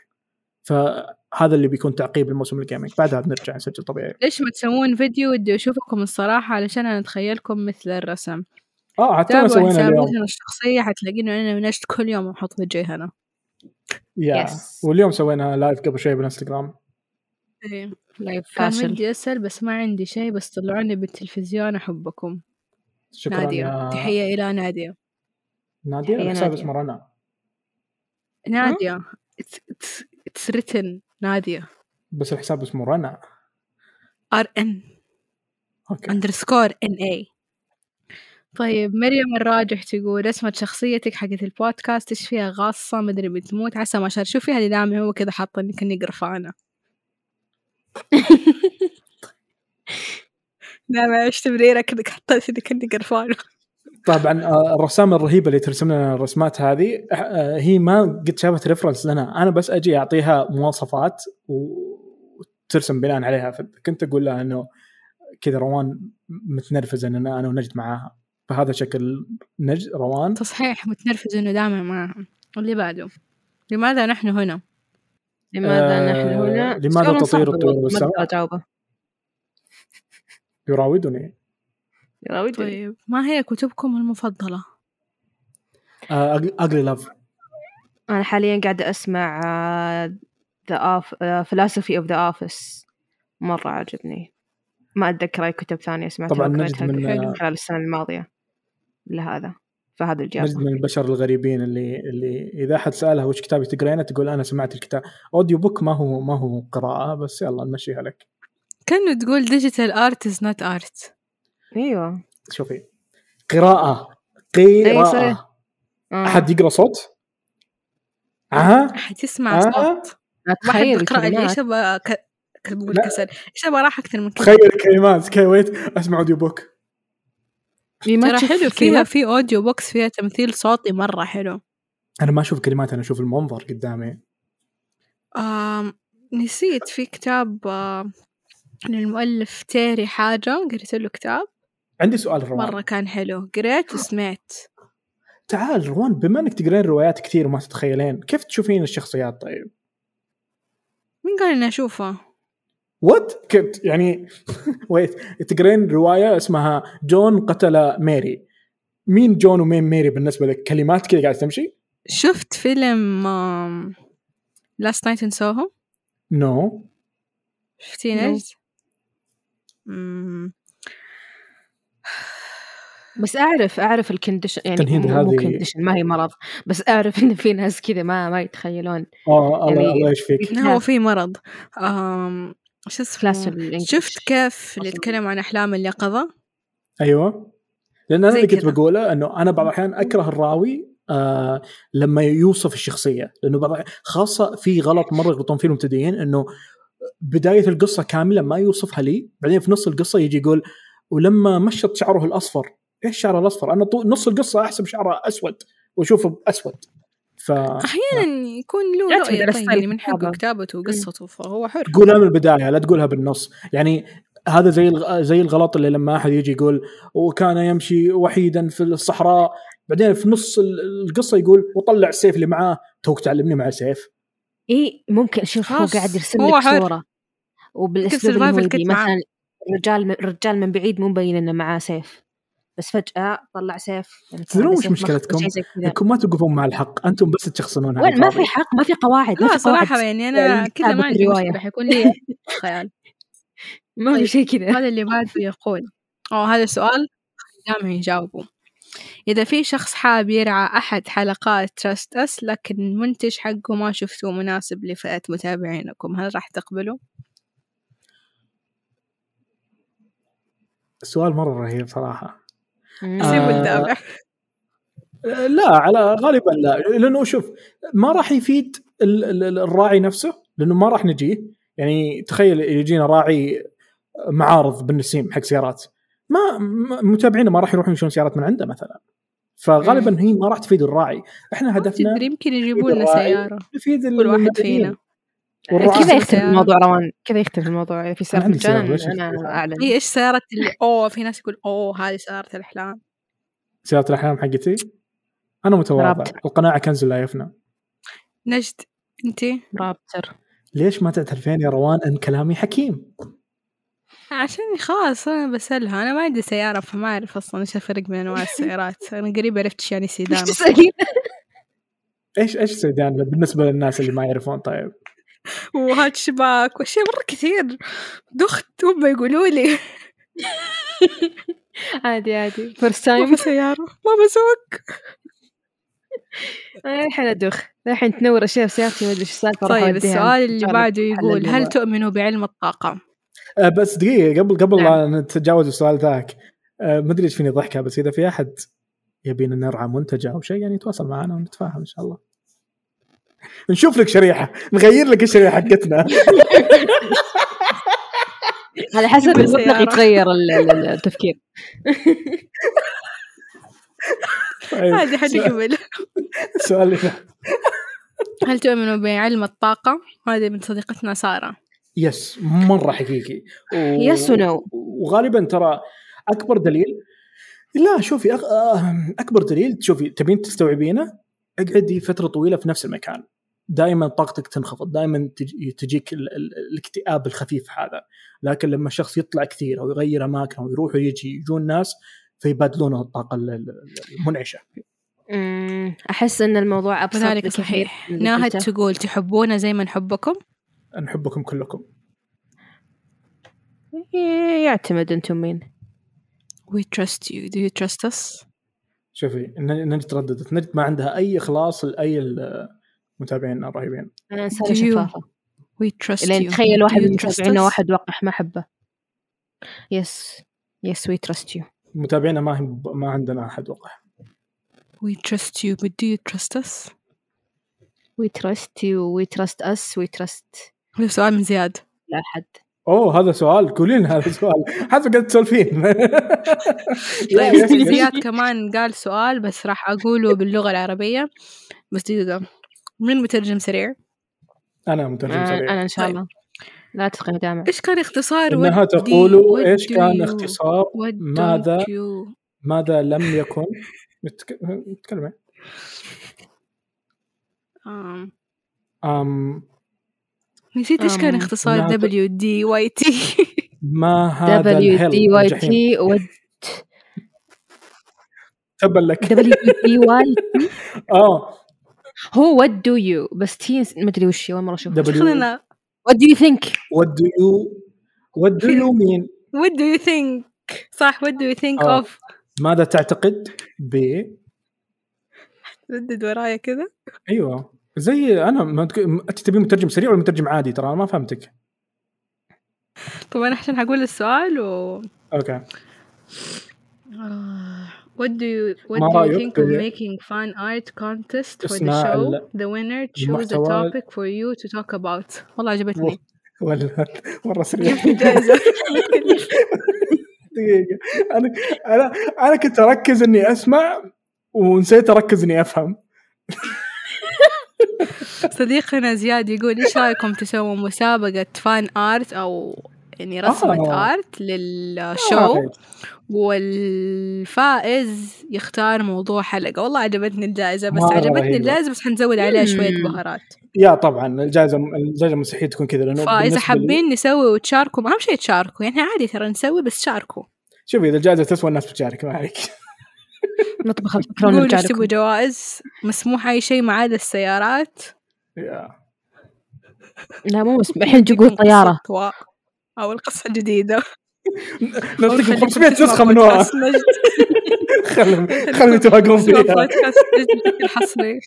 Speaker 1: فهذا اللي بيكون تعقيب الموسم الجيمنج بعدها بنرجع نسجل طبيعي
Speaker 2: ليش ما تسوون فيديو ودي أشوفكم الصراحة علشان أنا أتخيلكم مثل الرسم
Speaker 1: اه حتى ما
Speaker 2: تابعوا
Speaker 1: سوينا اليوم
Speaker 2: حساباتنا الشخصية حتلاقينه أنا ونجد كل يوم نحط وجهنا
Speaker 1: يا
Speaker 3: Yes.
Speaker 1: واليوم سوينا لايف قبل شوي بالانستغرام
Speaker 2: إيه.
Speaker 3: لايف
Speaker 2: كان
Speaker 3: فاشل
Speaker 2: ودي أسأل بس ما عندي شيء بس طلعوني بالتلفزيون أحبكم
Speaker 1: شكرا
Speaker 2: نادية
Speaker 1: يا
Speaker 2: تحية إلى نادية
Speaker 1: ناديه
Speaker 3: تحية
Speaker 1: الحساب
Speaker 3: نادية.
Speaker 1: اسمه رنا
Speaker 2: نادية it's, it's, it's written نادية
Speaker 1: بس الحساب اسمه رنا
Speaker 2: RN
Speaker 1: اوكي
Speaker 2: underscore NA طيب مريم الراجح تقول رسمة شخصيتك حقت البودكاست ايش فيها غاصة مدري بتموت عسى ما شر شوفي هذه دامي هو كذا حاطة اني كاني قرفانة دامي ايش تبريرة كذا حطيت اني كاني قرفانة
Speaker 1: طبعا آه، الرسامه الرهيبه اللي ترسم لنا الرسمات هذه آه، هي ما قد شافت ريفرنس لنا انا بس اجي اعطيها مواصفات و- وترسم بناء عليها فكنت اقول لها انه كذا روان متنرفزه ان انا ونجد معاها فهذا شكل نجد روان
Speaker 2: تصحيح متنرفز انه دامي معاها اللي بعده لماذا نحن هنا؟
Speaker 1: آه،
Speaker 3: لماذا نحن هنا
Speaker 1: لماذا
Speaker 3: سؤال
Speaker 1: تطير
Speaker 3: صعب
Speaker 1: الطيور
Speaker 3: والله، ما
Speaker 1: بالسماء؟
Speaker 3: أقدر أجاوبه
Speaker 1: يراودني
Speaker 3: يراودني.
Speaker 2: طيب ما هي كتبكم المفضلة؟
Speaker 1: اجلي لاف
Speaker 3: أنا حاليا قاعدة أسمع آه، The Off- آه، Philosophy of the Office مرة عجبني ما أتذكر أي كتب ثانية سمعتها
Speaker 1: طبعاً
Speaker 3: وقريتها
Speaker 1: نجد من- آه،
Speaker 3: قبل- خلال السنة الماضية لهذا فهذا الإجابة
Speaker 1: نجد من البشر الغريبين اللي اللي اذا احد سالها وش كتاب تقرينه تقول انا سمعت الكتاب اوديو بوك ما هو ما هو قراءه بس يلا نمشيها لك
Speaker 2: كأنه تقول ديجيتال ارت از نوت ارت
Speaker 3: ايوه
Speaker 1: شوفي قراءة قراءة
Speaker 3: صحيح. آه.
Speaker 1: أحد يقرأ صوت؟ ها؟
Speaker 2: احد يسمع
Speaker 1: آه.
Speaker 2: صوت واحد
Speaker 3: تخيل
Speaker 2: يقرا لي
Speaker 3: الكلمات.
Speaker 2: ايش ابغى ك- كنت بقول
Speaker 1: لا.
Speaker 2: كسل ايش ابغى راح اكثر من كذا
Speaker 1: تخيل الكلمات كي ويت اسمع اوديو بوك
Speaker 3: إيه، ما
Speaker 2: ترى
Speaker 3: تشوف
Speaker 2: حلو فيها
Speaker 3: الكلمات.
Speaker 2: في اوديو بوكس فيها تمثيل صوتي مره حلو
Speaker 1: انا ما اشوف كلمات انا اشوف المنظر قدامي
Speaker 2: آم نسيت في كتاب آم، للمؤلف تيري حاجه قريت له كتاب
Speaker 1: عندي سؤال روان
Speaker 2: مره كان حلو قريت وسمعت
Speaker 1: تعال روان بما انك تقرين روايات كثير وما تتخيلين كيف تشوفين الشخصيات طيب
Speaker 2: مين قال اني اشوفه
Speaker 1: وات كنت يعني ويت تقرين روايه اسمها جون قتل ماري مين جون ومين ماري بالنسبه لك كلمات كذا قاعده تمشي
Speaker 2: شفت فيلم لاست نايت ان سوهو
Speaker 1: نو no.
Speaker 2: شفتيه
Speaker 3: No.
Speaker 2: نجد؟ مم،
Speaker 3: بس اعرف اعرف الكنديشن يعني
Speaker 1: التنهيد
Speaker 3: مو
Speaker 1: هذه-
Speaker 3: هذه... كنديشن ما هي مرض بس اعرف ان في ناس كذا ما ما يتخيلون
Speaker 1: آه الله
Speaker 3: يعني-
Speaker 1: الله يشفيك
Speaker 3: نعم.
Speaker 2: هو في مرض آم، شو
Speaker 3: كلاس
Speaker 2: اسمه
Speaker 3: الإنجليش.
Speaker 2: شفت كيف اللي
Speaker 3: أصلاً.
Speaker 2: يتكلم عن احلام اليقظه
Speaker 1: ايوه لان انا
Speaker 2: زي
Speaker 1: اللي كنت
Speaker 2: كذا.
Speaker 1: بقوله انه انا بعض الاحيان اكره الراوي آه لما يوصف الشخصيه لانه بعض الأحيان- خاصه في غلط مره يغلطون فيه المبتدئين انه بدايه القصه كامله ما يوصفها لي بعدين في نص القصه يجي يقول ولما مشط شعره الاصفر ايش شعره الاصفر انا طول نص القصه احسب شعره اسود واشوفه اسود ف
Speaker 2: احيانا يكون له
Speaker 3: آه، لا تعتمد
Speaker 2: رؤيه
Speaker 3: على
Speaker 2: طيب
Speaker 3: ستايل
Speaker 2: يعني من حقه
Speaker 3: الكتابة.
Speaker 2: كتابته وقصته فهو حر
Speaker 1: قولها من البدايه لا تقولها بالنص يعني هذا زي الغ- زي الغلط اللي لما احد يجي يقول وكان يمشي وحيدا في الصحراء بعدين في نص ال- القصه يقول وطلع السيف اللي معاه توك تعلمني مع سيف
Speaker 3: اي إيه، ممكن شوف هو
Speaker 2: خلاص،
Speaker 3: قاعد يرسم
Speaker 2: هو
Speaker 3: لك
Speaker 2: حر.
Speaker 3: صوره وبالاسلوب اللي
Speaker 2: survival
Speaker 3: هو
Speaker 2: kit
Speaker 3: يبي.
Speaker 2: معاه.
Speaker 3: مثلا رجال من رجال من بعيد مو مبين انه معاه سيف بس فجاه طلع سيف يعني كان
Speaker 1: تدرون
Speaker 3: عنده
Speaker 1: وش
Speaker 3: سيف مخفي،
Speaker 1: مشكلتكم؟
Speaker 3: شيء زي كذا.
Speaker 1: انكم ما توقفون مع الحق انتم بس تشخصنون
Speaker 3: نعم. وين ما في حق ما في قواعد ما
Speaker 2: لا
Speaker 3: في
Speaker 2: صراحه
Speaker 3: قواعد
Speaker 2: يعني انا
Speaker 3: يعني
Speaker 2: كذا ما
Speaker 3: كتابة
Speaker 2: عندي
Speaker 3: الرواية.
Speaker 2: مشكله حيكون لي خيال
Speaker 3: ما في شيء كذا
Speaker 2: هذا اللي بعده يقول أو هذا السؤال خدامهم يجاوبوا إذا في شخص حاب يرعى أحد حلقات تراست أس لكن المنتج حقه ما شفتوه مناسب لفئة متابعينكم هل راح تقبلوا؟
Speaker 1: سؤال مره رهيب صراحه
Speaker 2: زي
Speaker 1: آه.
Speaker 2: متابع
Speaker 1: لا على غالبا لا لانه شوف ما راح يفيد ال- ال- الراعي نفسه لانه ما راح نجيه يعني تخيل يجينا راعي معارض بالنسيم حق سيارات ما م- متابعينا ما راح يروحون يشون سيارات من عنده مثلا فغالبا هي ما راح تفيد الراعي احنا هدفنا
Speaker 2: تدري يمكن يجيبوا لنا
Speaker 1: الراعي.
Speaker 2: سيارة
Speaker 1: نفيد
Speaker 2: كل واحد فينا
Speaker 1: والراعي.
Speaker 3: كذا
Speaker 2: كذا
Speaker 3: يختلف
Speaker 2: سيارة.
Speaker 3: الموضوع روان إيه. كذا يختلف الموضوع إذا في سيارة
Speaker 1: عندي سيارة،
Speaker 3: مجانا
Speaker 1: ليش
Speaker 3: انا
Speaker 1: يختلف؟
Speaker 3: اعلن
Speaker 2: هي إيه، إيش سيارة اللي أوه في ناس يقول أوه هذه سيارة الأحلام
Speaker 1: سياره الاحلام حقتي انا متواضع
Speaker 3: رابط.
Speaker 1: القناعه كنز لا يفنى
Speaker 2: نجد أنت
Speaker 3: رابتر
Speaker 1: ليش ما تعترفين يا روان ان كلامي حكيم
Speaker 2: عشان خلاص أنا بسألها أنا ما عندي سيارة فما أعرف أصلا إيش الفرق بين أنواع السيارات أنا قريب عرفت إيش يعني
Speaker 3: ايش
Speaker 2: سيدان أصلاً.
Speaker 3: تسألين؟
Speaker 1: ايش ايش سيدان بالنسبه للناس اللي ما يعرفون طيب
Speaker 2: وهاتشباك واشياء مره كثير دخت هم يقولوا لي
Speaker 3: عادي عادي فيرست
Speaker 2: ما
Speaker 3: تايم
Speaker 2: في سياره ما بسوق
Speaker 3: الحين ادخ الحين تنور اشياء في سيارتي ما ادري ايش السالفه راح
Speaker 2: طيب
Speaker 3: أوديها
Speaker 2: السؤال اللي
Speaker 3: جرب
Speaker 2: بعده
Speaker 3: حل
Speaker 2: يقول هل
Speaker 3: الوضع.
Speaker 2: تؤمنوا بعلم الطاقه
Speaker 1: آه، بس دقيقة قبل قبل لا
Speaker 3: نعم.
Speaker 1: نتجاوز السؤال ذاك آه، ما ادري ايش فيني ضحكة بس اذا في احد يبينا نرعى منتجع او شيء يعني يتواصل معنا ونتفاهم ان شاء الله. نشوف لك شريحة، نغير لك الشريحة حقتنا.
Speaker 3: على حسب
Speaker 2: يقول
Speaker 3: المطلق
Speaker 2: سيارة.
Speaker 3: يتغير ال- ال- التفكير
Speaker 1: طيب،
Speaker 2: هذه حنقبل
Speaker 1: السؤال اللي بعده.
Speaker 2: هل تؤمنوا بعلم الطاقه هذه من صديقتنا ساره
Speaker 1: يس مرة حقيقي. و-
Speaker 3: يس ونو
Speaker 1: وغالبا ترى اكبر دليل لا شوفي أغ... آه، اكبر دليل شوفي تبين تستوعبينه اقعدي فتره طويله في نفس المكان دائما طاقتك تنخفض دائما تجيك ال... ال... الاكتئاب الخفيف هذا لكن لما الشخص يطلع كثير او يغير اماكن او يروح ويجي يجون ناس فيبادلونه الطاقه ال- ال- المنعشه
Speaker 3: احس ان الموضوع ابسط
Speaker 2: وذلك
Speaker 3: بكثير
Speaker 2: صحيح
Speaker 3: من اللي
Speaker 2: ناهد
Speaker 3: قلته.
Speaker 2: تقول تحبونا زي ما نحبكم
Speaker 1: نحبكم كلكم
Speaker 3: إيه، يعتمد انتم مين
Speaker 2: we trust you do you trust us
Speaker 1: شوفي ن- نجد ترددت نجد ما عندها اي اخلاص لاي المتابعين الرهيبين
Speaker 3: انا
Speaker 2: Do
Speaker 3: انسانه
Speaker 2: you-
Speaker 3: شفافه
Speaker 2: we trust
Speaker 3: لين
Speaker 2: you
Speaker 3: تخيل
Speaker 2: Do
Speaker 3: واحد
Speaker 2: you
Speaker 3: من
Speaker 2: trust
Speaker 3: متابعينا
Speaker 2: us?
Speaker 3: واحد وقح ما حبه يس يس وي تراست يو
Speaker 1: متابعينا ما هم ما عندنا احد وقع
Speaker 2: وي تراست يو but do you trust us
Speaker 3: وي تراست يو وي تراست اس وي تراست
Speaker 2: هذا سؤال من زياد
Speaker 3: لا احد
Speaker 1: اوه هذا سؤال قولي لنا هذا سؤال حتى قاعد تسولفين
Speaker 2: طيب في زياد كمان قال سؤال بس راح اقوله باللغه العربيه بس دقيقه من مترجم سريع
Speaker 1: انا مترجم
Speaker 3: انا
Speaker 1: سريع
Speaker 3: آه، أنا ان شاء
Speaker 2: طيب.
Speaker 3: الله لا تفقد دامع
Speaker 2: ايش كان اختصار
Speaker 1: انها
Speaker 2: what do-
Speaker 1: تقول
Speaker 2: what
Speaker 1: ايش
Speaker 2: do
Speaker 1: كان
Speaker 2: you-
Speaker 1: اختصار
Speaker 2: what
Speaker 1: ماذا-
Speaker 2: don't you-
Speaker 1: ماذا لم يكن نتك- نتكلم
Speaker 2: آم،
Speaker 1: أم
Speaker 2: نسيت ايش كان
Speaker 3: آم،
Speaker 2: اختصار
Speaker 1: ماذا-
Speaker 2: دبليو دي واي تي
Speaker 1: ما هذا
Speaker 3: دبليو
Speaker 1: الهل
Speaker 3: دي واي
Speaker 1: الجحيم
Speaker 3: تي
Speaker 1: تبا لك
Speaker 3: دبليو دي واي
Speaker 1: اه
Speaker 3: E هو وات دو يو بس تي ما ادري وش هي، اول مره اشوفها
Speaker 1: دبليو
Speaker 2: خلينا نعم.
Speaker 3: وات دو يو ثينك
Speaker 1: وات دو يو وات دو يو مين
Speaker 2: what do you think صح what do you think
Speaker 1: آه.
Speaker 2: of
Speaker 1: ماذا تعتقد ب
Speaker 2: ردد ورايا كذا
Speaker 1: ايوه زي انا ما تك- انت تبي مترجم سريع ولا مترجم عادي ترى انا ما فهمتك
Speaker 2: طبعا عشان هقول السؤال و
Speaker 1: اوكي
Speaker 2: آه، what do you what
Speaker 1: ما
Speaker 2: do you
Speaker 1: رأيك
Speaker 2: think of
Speaker 1: بال-
Speaker 2: making fun art contest for the
Speaker 1: اسمع
Speaker 2: show
Speaker 1: ال-
Speaker 2: the winner choose a
Speaker 1: المحتوى-
Speaker 2: topic for you to talk about والله عجبتني
Speaker 1: ولا مره سريع
Speaker 2: جائزة
Speaker 1: دقيقه انا انا انا كنت اركز اني اسمع ونسيت اركز اني افهم
Speaker 2: صديقنا زياد يقول ايش رايكم تسووا مسابقة فان ارت او يعني رسمة
Speaker 1: آه.
Speaker 2: ارت للشو والفائز يختار موضوع حلقة والله عجبتني الجائزة بس
Speaker 1: مرة
Speaker 2: عجبتني
Speaker 1: رهيبة.
Speaker 2: الجائزة بس حنزود عليها شوية
Speaker 3: مم.
Speaker 2: بهارات
Speaker 1: يا طبعا الجائزه الجائزه مستحيل تكون كذا لانه بالنسبة
Speaker 2: فإذا
Speaker 1: لي-
Speaker 2: حابين نسوي وتشاركوا أهم شيء تشاركوا يعني عادي ترى نسوي بس شاركوا
Speaker 1: شوفي اذا الجائزه تسوى الناس بتشارك ما عليك
Speaker 3: نطبخ الفكره
Speaker 2: قولوا
Speaker 3: ونرجع
Speaker 2: ايش تبوا
Speaker 3: لكم
Speaker 2: جوائز مسموح أي شيء ما عدا السيارات
Speaker 1: يا.
Speaker 3: لا مو مسموح الحين جقول طياره
Speaker 2: قصة أو القصة الجديدة
Speaker 1: نعطيكم 500 نسخه منوها خلهم خلهم يتواقون فيها
Speaker 2: الحصري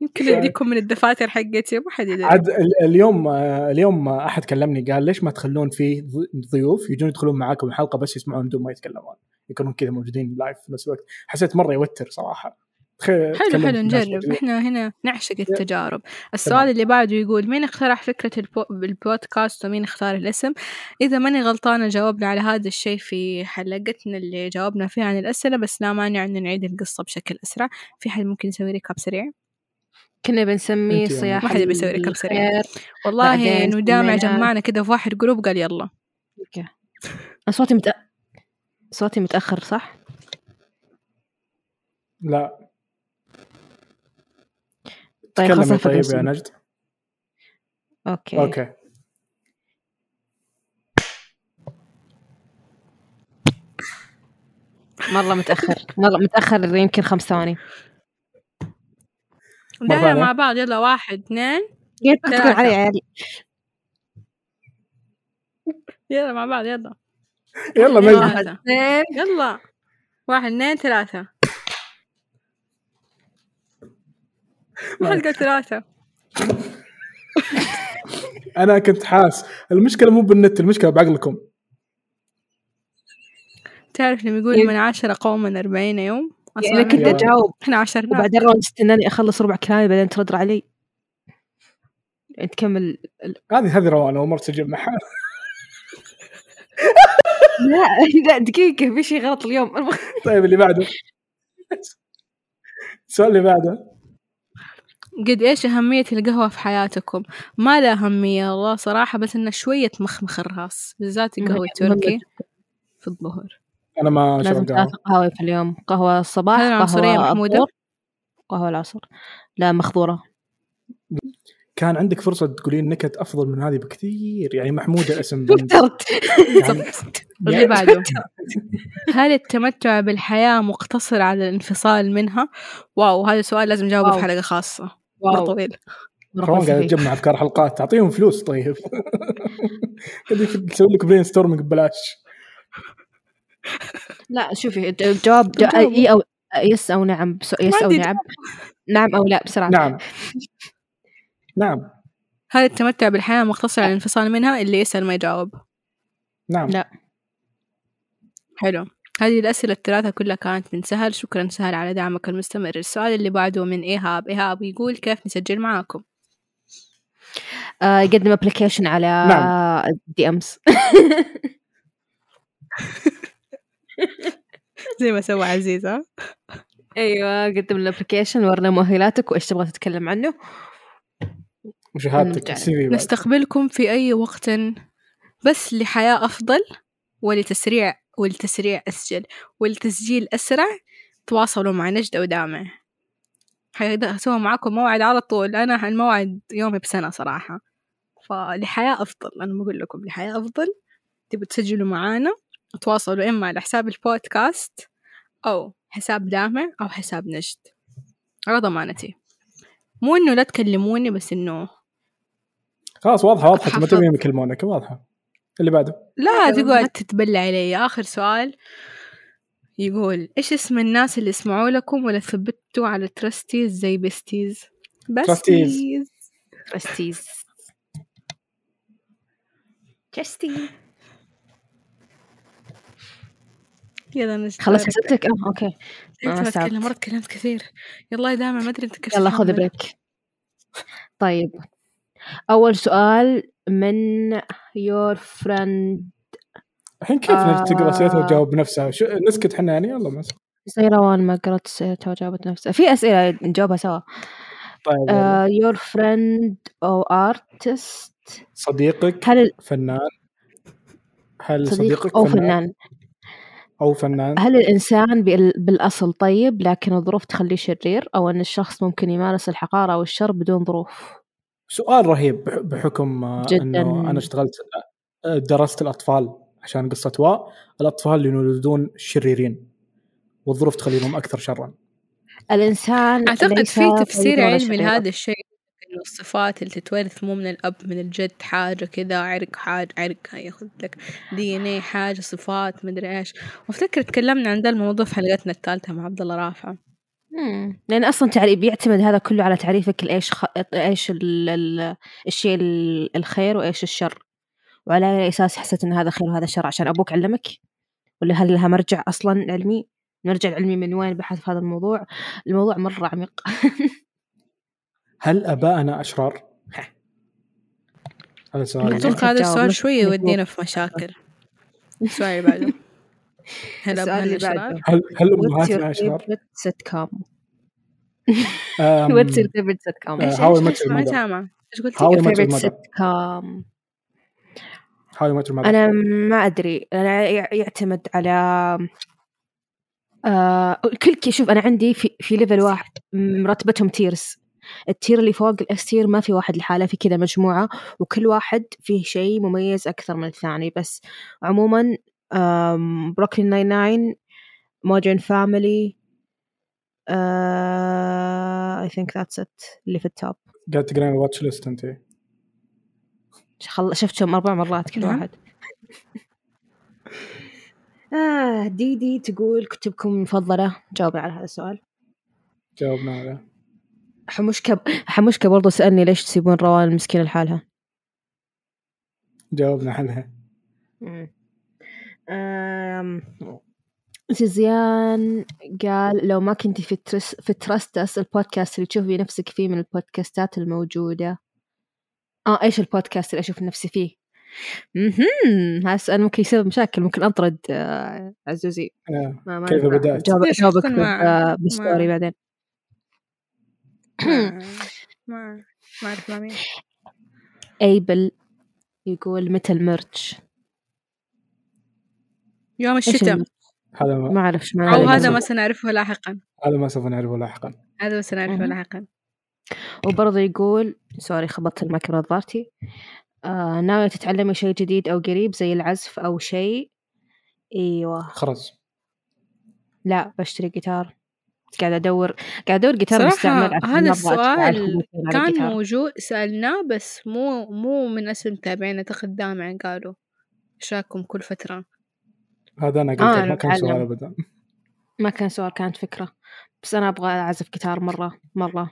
Speaker 2: يمكن يديكم من الدفاتر حقتي ما حد يدري
Speaker 1: عاد ال- اليوم آه، اليوم آه، احد كلمني قال ليش ما تخلون فيه ض- ضيوف يجون يدخلون معاكم الحلقه بس يسمعون بدون ما يتكلمون يكونون كذا موجودين لايف في نفس الوقت حسيت مره يوتر صراحه تخيل
Speaker 2: حلو
Speaker 1: تكلم
Speaker 2: حلو
Speaker 1: الناس إيه.
Speaker 2: نجرب
Speaker 1: موجودين.
Speaker 2: احنا هنا نعشق التجارب السؤال اللي بعده يقول مين اقترح فكرة البو... البودكاست ومين اختار الاسم اذا ماني غلطانة جاوبنا على هذا الشيء في حلقتنا اللي جاوبنا فيها عن الاسئلة بس لا مانع انه نعيد القصة بشكل اسرع في حد ممكن يسوي ريكاب سريع
Speaker 3: كنا بنسميه
Speaker 1: أنت يا
Speaker 3: صياح
Speaker 2: ما حد بيسوي ركب
Speaker 3: الخير.
Speaker 2: سريع. والله
Speaker 3: بعدين
Speaker 2: انه دامع
Speaker 3: سمينا-
Speaker 2: جمعنا كده في واحد جروب قال يلا
Speaker 3: أوكي. أنا صوتي متأ... صوتي متاخر صح
Speaker 1: لا
Speaker 3: طيب خلاص
Speaker 1: تكلمي
Speaker 3: أفكر
Speaker 1: طيب يا
Speaker 3: اسمه.
Speaker 1: نجد
Speaker 3: اوكي اوكي
Speaker 1: اوكي
Speaker 3: مره متاخر مره متاخر يمكن خمس ثواني
Speaker 1: مرة
Speaker 2: دعنا
Speaker 1: ثانية.
Speaker 2: مع بعض يلا واحد اثنين
Speaker 3: كيف تقول علي يا عيال
Speaker 2: يلا مع بعض يلا
Speaker 1: يلا مجد
Speaker 2: واحد اثنين يلا واحد اثنين ثلاثة حلقة ثلاثة
Speaker 1: انا كنت حاس المشكله مو بالنت المشكله بعقلكم
Speaker 2: تعرف لما يقول من عشرة قوما أربعين يوم
Speaker 3: يعني انا كنت
Speaker 1: يا-
Speaker 3: اجاوب
Speaker 2: احنا عشرنا
Speaker 3: وبعدين راوند استناني اخلص ربع كلامي بعدين ترد علي يعني تكمل
Speaker 1: هذه هذه روان اول مره تسجل معها
Speaker 3: لا لا دقيقة في شيء غلط اليوم المخ-
Speaker 1: طيب اللي بعده السؤال اللي بعده
Speaker 2: قد ايش أهمية القهوة في حياتكم ما لها أهمية والله صراحة بس إنه شوية مخمخ الراس بالذات القهوة التركي في الظهر
Speaker 1: انا ما
Speaker 3: لازم
Speaker 1: شربت قهوه
Speaker 3: ثلاث قهوة في اليوم قهوة الصباح
Speaker 2: هل العنصرية
Speaker 3: قهوة
Speaker 2: محمودة؟
Speaker 3: الظهر، قهوة العصر لا مخضورة
Speaker 1: كان عندك فرصه تقولين نكت افضل من هذه بكثير يعني محموده اسم
Speaker 3: فكرت
Speaker 1: يعني
Speaker 2: اللي بعده هل التمتع بالحياة مقتصر على الانفصال منها؟ واو هذا سؤال لازم جاوبه في
Speaker 3: واو.
Speaker 2: حلقة خاصة مرة
Speaker 3: واو،
Speaker 2: طويل
Speaker 3: مرة
Speaker 1: روان قاعد
Speaker 3: فلسفي.
Speaker 1: تجمع افكار حلقات تعطيهم فلوس طيب قاعد تسوي لك برين ستورمنج ببلاش
Speaker 3: لا شوفي الج- الجواب جو-
Speaker 2: جاوبوا.
Speaker 3: اي او يس او نعم بس- يس او
Speaker 2: عندي
Speaker 3: نعم نعم او لا بسرعة
Speaker 1: نعم نعم
Speaker 2: هل التمتع
Speaker 3: نعم.
Speaker 2: بالحياة مقتصر على الانفصال منها؟ اللي يسأل ما يجاوب
Speaker 1: نعم
Speaker 3: لا.
Speaker 2: حلو هذه الأسئلة الثلاثة كلها كانت من سهل شكرا سهل على دعمك المستمر السؤال اللي بعده من إيهاب إيهاب يقول كيف نسجل معاكم
Speaker 3: آه، يقدم ابلكيشن على
Speaker 1: نعم.
Speaker 3: دي امس
Speaker 2: زي ما سوى عزيز ها
Speaker 3: ايوه قدم الابلكيشن ورنا مؤهلاتك وايش تبغى تتكلم عنه
Speaker 1: وشهادتك
Speaker 3: نرجع.
Speaker 1: السي في بعد.
Speaker 2: نستقبلكم في أي وقت بس لحياة أفضل ولتسريع ولتسريع أسجل ولتسجيل أسرع تواصلوا مع نجد أو دامع حيدا- سووا معاكم موعد على طول أنا الموعد يومي بسنة صراحة فلحياة أفضل أنا بقول لكم لحياة أفضل تبوا تسجلوا معانا تواصلوا إما على حساب البودكاست أو حساب دامع أو حساب نجد على ضمانتي مو إنه لا تكلموني بس إنه
Speaker 1: خلاص واضحه واضحه ما
Speaker 2: حفظ.
Speaker 1: تبين يكلمونك واضحه اللي بعده
Speaker 2: لا
Speaker 3: هذا
Speaker 2: تقعد
Speaker 3: هو.
Speaker 2: تتبلى علي آخر سؤال يقول إيش اسم الناس اللي يسمعوا لكم ولا ثبتوا على ترستيز زي بستيز
Speaker 1: Trustees.
Speaker 2: بستيز
Speaker 3: ترستيز ترستي
Speaker 2: يلا نجد
Speaker 3: خلصت اسئلتك اه اوكي ما
Speaker 2: أنت
Speaker 3: استوعبت.
Speaker 2: بتكلم مرة تكلمت كثير يلا دائما ما أدري أنت كيف
Speaker 3: يلا خذ
Speaker 2: تتحمل.
Speaker 3: بريك طيب اول سؤال من يور فريند
Speaker 1: الحين كيف
Speaker 3: آه.
Speaker 1: تقرا اسئلتها وتجاوب بنفسها شو نسكت احنا يعني يلا ما
Speaker 3: زي روان ما قرأت سيرتها وجاوبت نفسها في اسئله نجاوبها سوا
Speaker 1: طيب يلا.
Speaker 3: يور فريند او ارتست
Speaker 1: صديقك
Speaker 3: هل
Speaker 1: فنان هل
Speaker 3: صديق
Speaker 1: صديقك
Speaker 3: او
Speaker 1: فنان,
Speaker 3: فنان
Speaker 1: او فنان
Speaker 3: هل الانسان بال- بالاصل طيب لكن الظروف تخليه شرير او ان الشخص ممكن يمارس الحقاره او الشر بدون ظروف
Speaker 1: سؤال رهيب بح- بحكم آه،
Speaker 3: جداً.
Speaker 1: انه انا اشتغلت آه، درست الاطفال عشان قصه واء الاطفال اللي ينولدون شريرين والظروف تخليهم اكثر شرا
Speaker 3: الانسان
Speaker 2: أعتقد
Speaker 3: ليس
Speaker 2: في تفسير
Speaker 3: طيب ولا
Speaker 2: علمي
Speaker 3: شرير.
Speaker 2: لهذا الشيء إنه الصفات اللي تتورث مو من الأب من الجد حاجة كذا عرق حاجة عرق ياخذ لك دي إن إيه حاجة صفات مدري إيش وأفتكر تكلمنا عن ذا الموضوع في حلقتنا الثالثة مع عبد الله رافع
Speaker 3: مم. لان اصلا تعريف بيعتمد هذا كله على تعريفك لايش خ... ايش ال... ال... الشيء ال- الخير وايش الشر وعلى اي اساس حسيت ان هذا خير وهذا شر عشان ابوك علمك ولا هل لها مرجع اصلا علمي مرجع علمي من وين بحث في هذا الموضوع الموضوع مره عميق
Speaker 1: هل ابائنا اشرار؟ هذا سؤال
Speaker 3: لا، لا
Speaker 2: أتوقع هذا
Speaker 3: تتجاوب،
Speaker 2: السؤال
Speaker 3: مش-
Speaker 2: شوي
Speaker 3: مش
Speaker 2: يودينا في مشاكل السؤال اللي بعده هل
Speaker 3: السؤال اللي
Speaker 2: أبهان أشرار؟
Speaker 3: بعده.
Speaker 1: هل هل
Speaker 3: What's your
Speaker 1: امهاتنا اشرار؟
Speaker 3: favorite sitcom?
Speaker 1: أم،
Speaker 3: What's your favorite sitcom?
Speaker 1: آه،
Speaker 2: إيش-
Speaker 1: How I Met
Speaker 2: إيش قلت؟
Speaker 1: Your
Speaker 2: ما
Speaker 1: Mother.
Speaker 2: سامع إيش قلت؟
Speaker 1: How I
Speaker 3: Your
Speaker 1: Met Your
Speaker 3: favorite
Speaker 1: Mother.
Speaker 3: sitcom.
Speaker 1: How I Met Your Mother.
Speaker 3: انا ما ادري انا يع- يعتمد على آه... كل كي- شوف انا عندي في, في ليفل واحد مرتبتهم تيرز التير اللي فوق الاس تير ما في واحد لحاله في كذا مجموعه وكل واحد فيه شيء مميز اكثر من الثاني بس عموما بروكلين ناين ناين مودرن فاميلي اي ثينك ذاتس ات اللي في التوب
Speaker 1: قاعد تقرين الواتش ليست انت
Speaker 3: خل... شفتهم أربع مرات كل
Speaker 2: نعم.
Speaker 3: واحد آه ديدي تقول كتبكم المفضلة جاوبنا على هذا السؤال
Speaker 1: جاوبنا عليه
Speaker 3: حموشكة حموشكة برضو سألني ليش تسيبون روان المسكينة لحالها
Speaker 1: جاوبنا عليها
Speaker 3: آم، زيزيان قال لو ما كنتي في ترس في ترستس البودكاست اللي تشوفي نفسك فيه من البودكاستات الموجودة اه ايش البودكاست اللي اشوف نفسي فيه؟ مهم. هذا السؤال ممكن يسبب مشاكل ممكن اطرد آه، عزوزي
Speaker 1: آه،
Speaker 3: ما ما
Speaker 1: كيف
Speaker 3: نفع.
Speaker 1: بدأت؟
Speaker 3: جاوب
Speaker 2: ليش
Speaker 3: جاوبك
Speaker 2: تكون مع-
Speaker 3: ب- آه، بستوري
Speaker 2: مع-
Speaker 3: بعدين
Speaker 2: ما آه، ما ما أعرف مع مين
Speaker 3: ايبل يقول متى المرج
Speaker 2: يوم
Speaker 3: ايش
Speaker 2: الشتاء
Speaker 3: المرج؟
Speaker 1: هذا ما
Speaker 3: ما اعرف ايش معنى
Speaker 2: أو
Speaker 1: هذا
Speaker 2: هذا
Speaker 1: ما-
Speaker 2: ما سنعرفه لاحقا
Speaker 1: هذا ما سوف نعرفه لاحقا
Speaker 2: هذا ما سنعرفه
Speaker 3: مهم.
Speaker 2: لاحقا
Speaker 3: وبرضه يقول سوري خبطت المايك من نظارتي آه ناوية تتعلمي شيء جديد او قريب زي العزف او شيء ايوه
Speaker 1: خرز
Speaker 3: لا بشتري جيتار قاعدة ادور قاعدة ادور جيتار
Speaker 2: صراحة
Speaker 3: مستعمل عشان
Speaker 2: هذا
Speaker 3: ما أبغى أدفع
Speaker 2: السؤال
Speaker 3: 1200 على
Speaker 2: كان
Speaker 3: جيتار.
Speaker 2: موجود سألناه بس مو مو من أسئلة متابعين أعتقد دامع قالوا شاكم كل فترة
Speaker 1: هذا انا قلت
Speaker 3: آه،
Speaker 1: ما كان سؤال
Speaker 3: نتعلم.
Speaker 1: ابدا
Speaker 3: ما كان سؤال كانت فكرة بس انا ابغى اعزف جيتار مرة مرة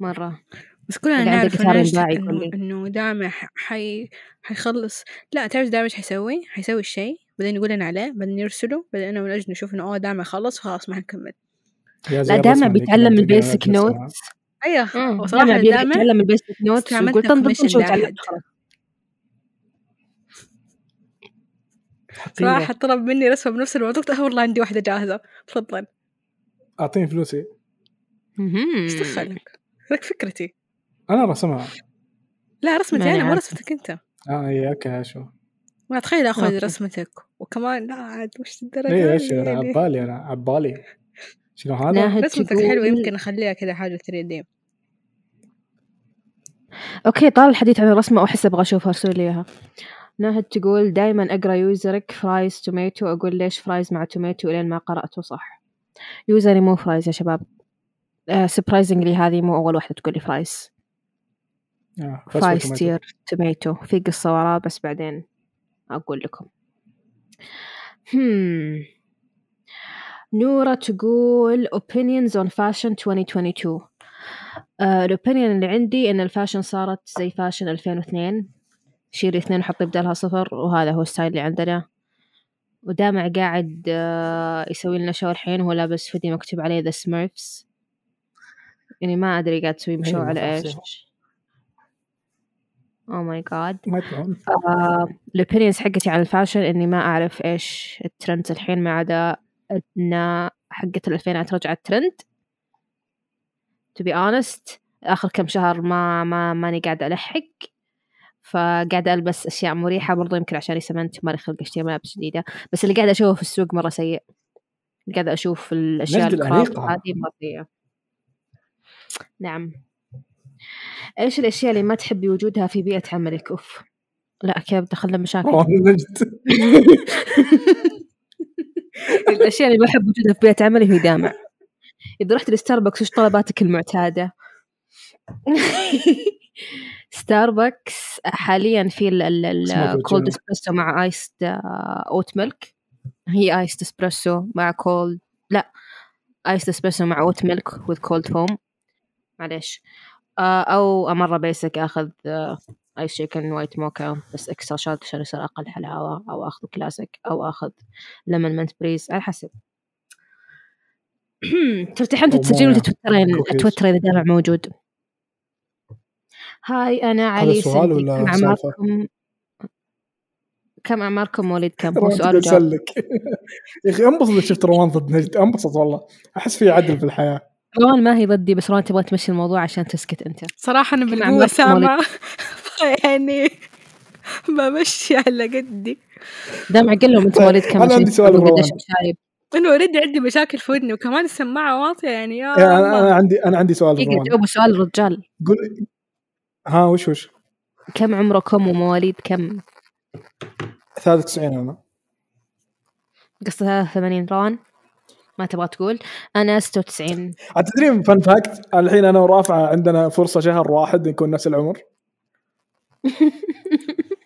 Speaker 3: مرة
Speaker 2: بس كلنا
Speaker 3: قاعد
Speaker 2: نعرف
Speaker 3: الجيتار
Speaker 2: إنه-
Speaker 3: ينباع
Speaker 2: إنه
Speaker 3: يقول لي.
Speaker 2: إنه دامع ح- حي حيخلص لا تعرف دامع إيش حيسوي؟ حيسوي الشيء بعدين يقول لنا عليه بعدين يرسله بعدين انا والاجنبي نشوف انه اوه دامع خلص خلاص ما حنكمل
Speaker 3: لا دائما بيتعلم البيسك نوت
Speaker 2: ايوه
Speaker 3: دائما
Speaker 2: وصراحه دامع
Speaker 3: بيتعلم البيسك نوت
Speaker 2: استعملت
Speaker 3: يقول تنضبط
Speaker 2: information
Speaker 3: شو
Speaker 2: لأحد.
Speaker 3: تعلمت خلاص
Speaker 2: صراحه طلب مني رسمه بنفس الموضوع قلت آه والله عندي واحده جاهزه تفضل
Speaker 1: اعطيني فلوسي
Speaker 2: ايش دخلك؟ لك فكرتي
Speaker 1: انا رسمها
Speaker 2: لا رسمتي انا مو
Speaker 3: معناها.
Speaker 2: رسمتك انت
Speaker 1: اه اي اوكي شو
Speaker 2: ما تخيل اخذ
Speaker 3: أوكي.
Speaker 2: رسمتك وكمان لا عاد وش
Speaker 1: اي
Speaker 2: الدرجه
Speaker 1: ايش
Speaker 2: هذه
Speaker 1: إيه، أنا
Speaker 2: يعني؟
Speaker 1: عبالي انا عبالي شنو هذا؟
Speaker 3: ناهد
Speaker 2: رسمتك
Speaker 3: تقول-
Speaker 2: حلوه يمكن اخليها كذا حاجه 3 دي
Speaker 3: اوكي طال الحديث عن الرسمه واحس ابغى اشوفها ارسل لي اياها ناهد تقول دائما اقرا يوزرك فرايز توميتو اقول ليش فرايز مع توميتو الين ما قراته صح يوزري مو فرايز يا شباب سبرايزنجلي هذه مو اول واحده تقول لي فرايز
Speaker 1: آه، فاست فود
Speaker 3: فرايز
Speaker 1: توماتو.
Speaker 3: تير توميتو في قصه وراه بس بعدين اقول لكم هم نورة تقول opinions on fashion 2022 آه، الأوبينيون اللي عندي إن الفاشن صارت زي فاشن 2002 شيلي اثنين وحطي بدالها صفر وهذا هو الستايل اللي عندنا ودامع قاعد آه، يسوي لنا شو الحين وهو لابس فيديو مكتوب عليه ذا سميرفز يعني ما أدري قاعد تسوي مشو
Speaker 1: أيوة،
Speaker 3: على
Speaker 1: صح،
Speaker 3: إيش Oh أو ماي جاد
Speaker 1: ما يطلعون
Speaker 3: الاوبينيونز حقتي عن الفاشن اني ما اعرف ايش الترند الحين ما عدا ان حقت الالفينات رجعت ترند to be honest اخر كم شهر ما ما ماني قاعده الحق فقاعدة ألبس أشياء مريحة برضو يمكن عشان سمنت مالي خلق أشتري ملابس جديدة بس اللي قاعدة أشوفه في السوق مرة سيء اللي قاعدة أشوف الأشياء
Speaker 1: نجد
Speaker 3: الكراب
Speaker 1: الأنيقة.
Speaker 3: هذه مرة سيئة نعم إيش الأشياء اللي ما تحبي وجودها في بيئة عملك أوف لا كذا دخلنا مشاكل
Speaker 1: والله نجد
Speaker 3: الاشياء اللي ما احب وجودها في بيئه عملي هي دامع اذا رحت لستاربكس وش طلباتك المعتاده ستاربكس حاليا في
Speaker 1: Small cappuccino.
Speaker 3: الكولد اسبريسو مع ايس اوت ميلك هي ايس اسبريسو مع كولد لا ايس اسبريسو مع اوت ميلك وذ كولد فوم معليش آه، او مره بيسك آه، اخذ ايس شيكن وايت موكا بس اكسترا شوت عشان يصير اقل حلاوه او اخذ كلاسيك او اخذ لمن منت بريز على حسب ترتاحين
Speaker 1: أو
Speaker 3: تسجلين ولا
Speaker 1: موية.
Speaker 3: تتوترين
Speaker 1: كوكيز.
Speaker 3: توترين اذا دامع موجود هاي انا علي
Speaker 1: سؤال
Speaker 3: سندي.
Speaker 1: ولا
Speaker 3: كم
Speaker 1: سالفة؟
Speaker 3: اعماركم كم اعماركم مواليد كم هو
Speaker 1: روان
Speaker 3: سؤال
Speaker 1: تقول
Speaker 3: وجواب
Speaker 1: سلك يا اخي انبسط إذا شفت روان ضد نجد انبسط والله احس في عدل في الحياه
Speaker 3: روان ما هي ضدي بس روان تبغى تمشي الموضوع عشان تسكت انت
Speaker 2: صراحة أنا
Speaker 3: كم
Speaker 2: بالقوة
Speaker 3: عمرك
Speaker 2: سامة يعني بمشي على قدي
Speaker 3: دامع قل لهم انت
Speaker 1: طيب،
Speaker 3: مواليد كم
Speaker 1: أنا
Speaker 3: عشان
Speaker 1: عندي سؤال
Speaker 3: يفهموا
Speaker 1: لروان.
Speaker 3: قديش مشايب.
Speaker 2: أنا اوريدي عندي مشاكل في ودني وكمان السماعة واطية يعني يا
Speaker 1: يعني انا
Speaker 2: الله.
Speaker 1: أنا عندي انا عندي سؤال
Speaker 3: دقيقة
Speaker 1: روان
Speaker 3: جاوبوا سؤال الرجال
Speaker 1: قول ها وش وش
Speaker 3: كم عمركم ومواليد كم
Speaker 1: 93 انا
Speaker 3: قصة 83 روان ما تبغى تقول انا 96
Speaker 1: عاد تدري فان فاكت الحين انا ورافعه عندنا فرصه شهر واحد نكون نفس العمر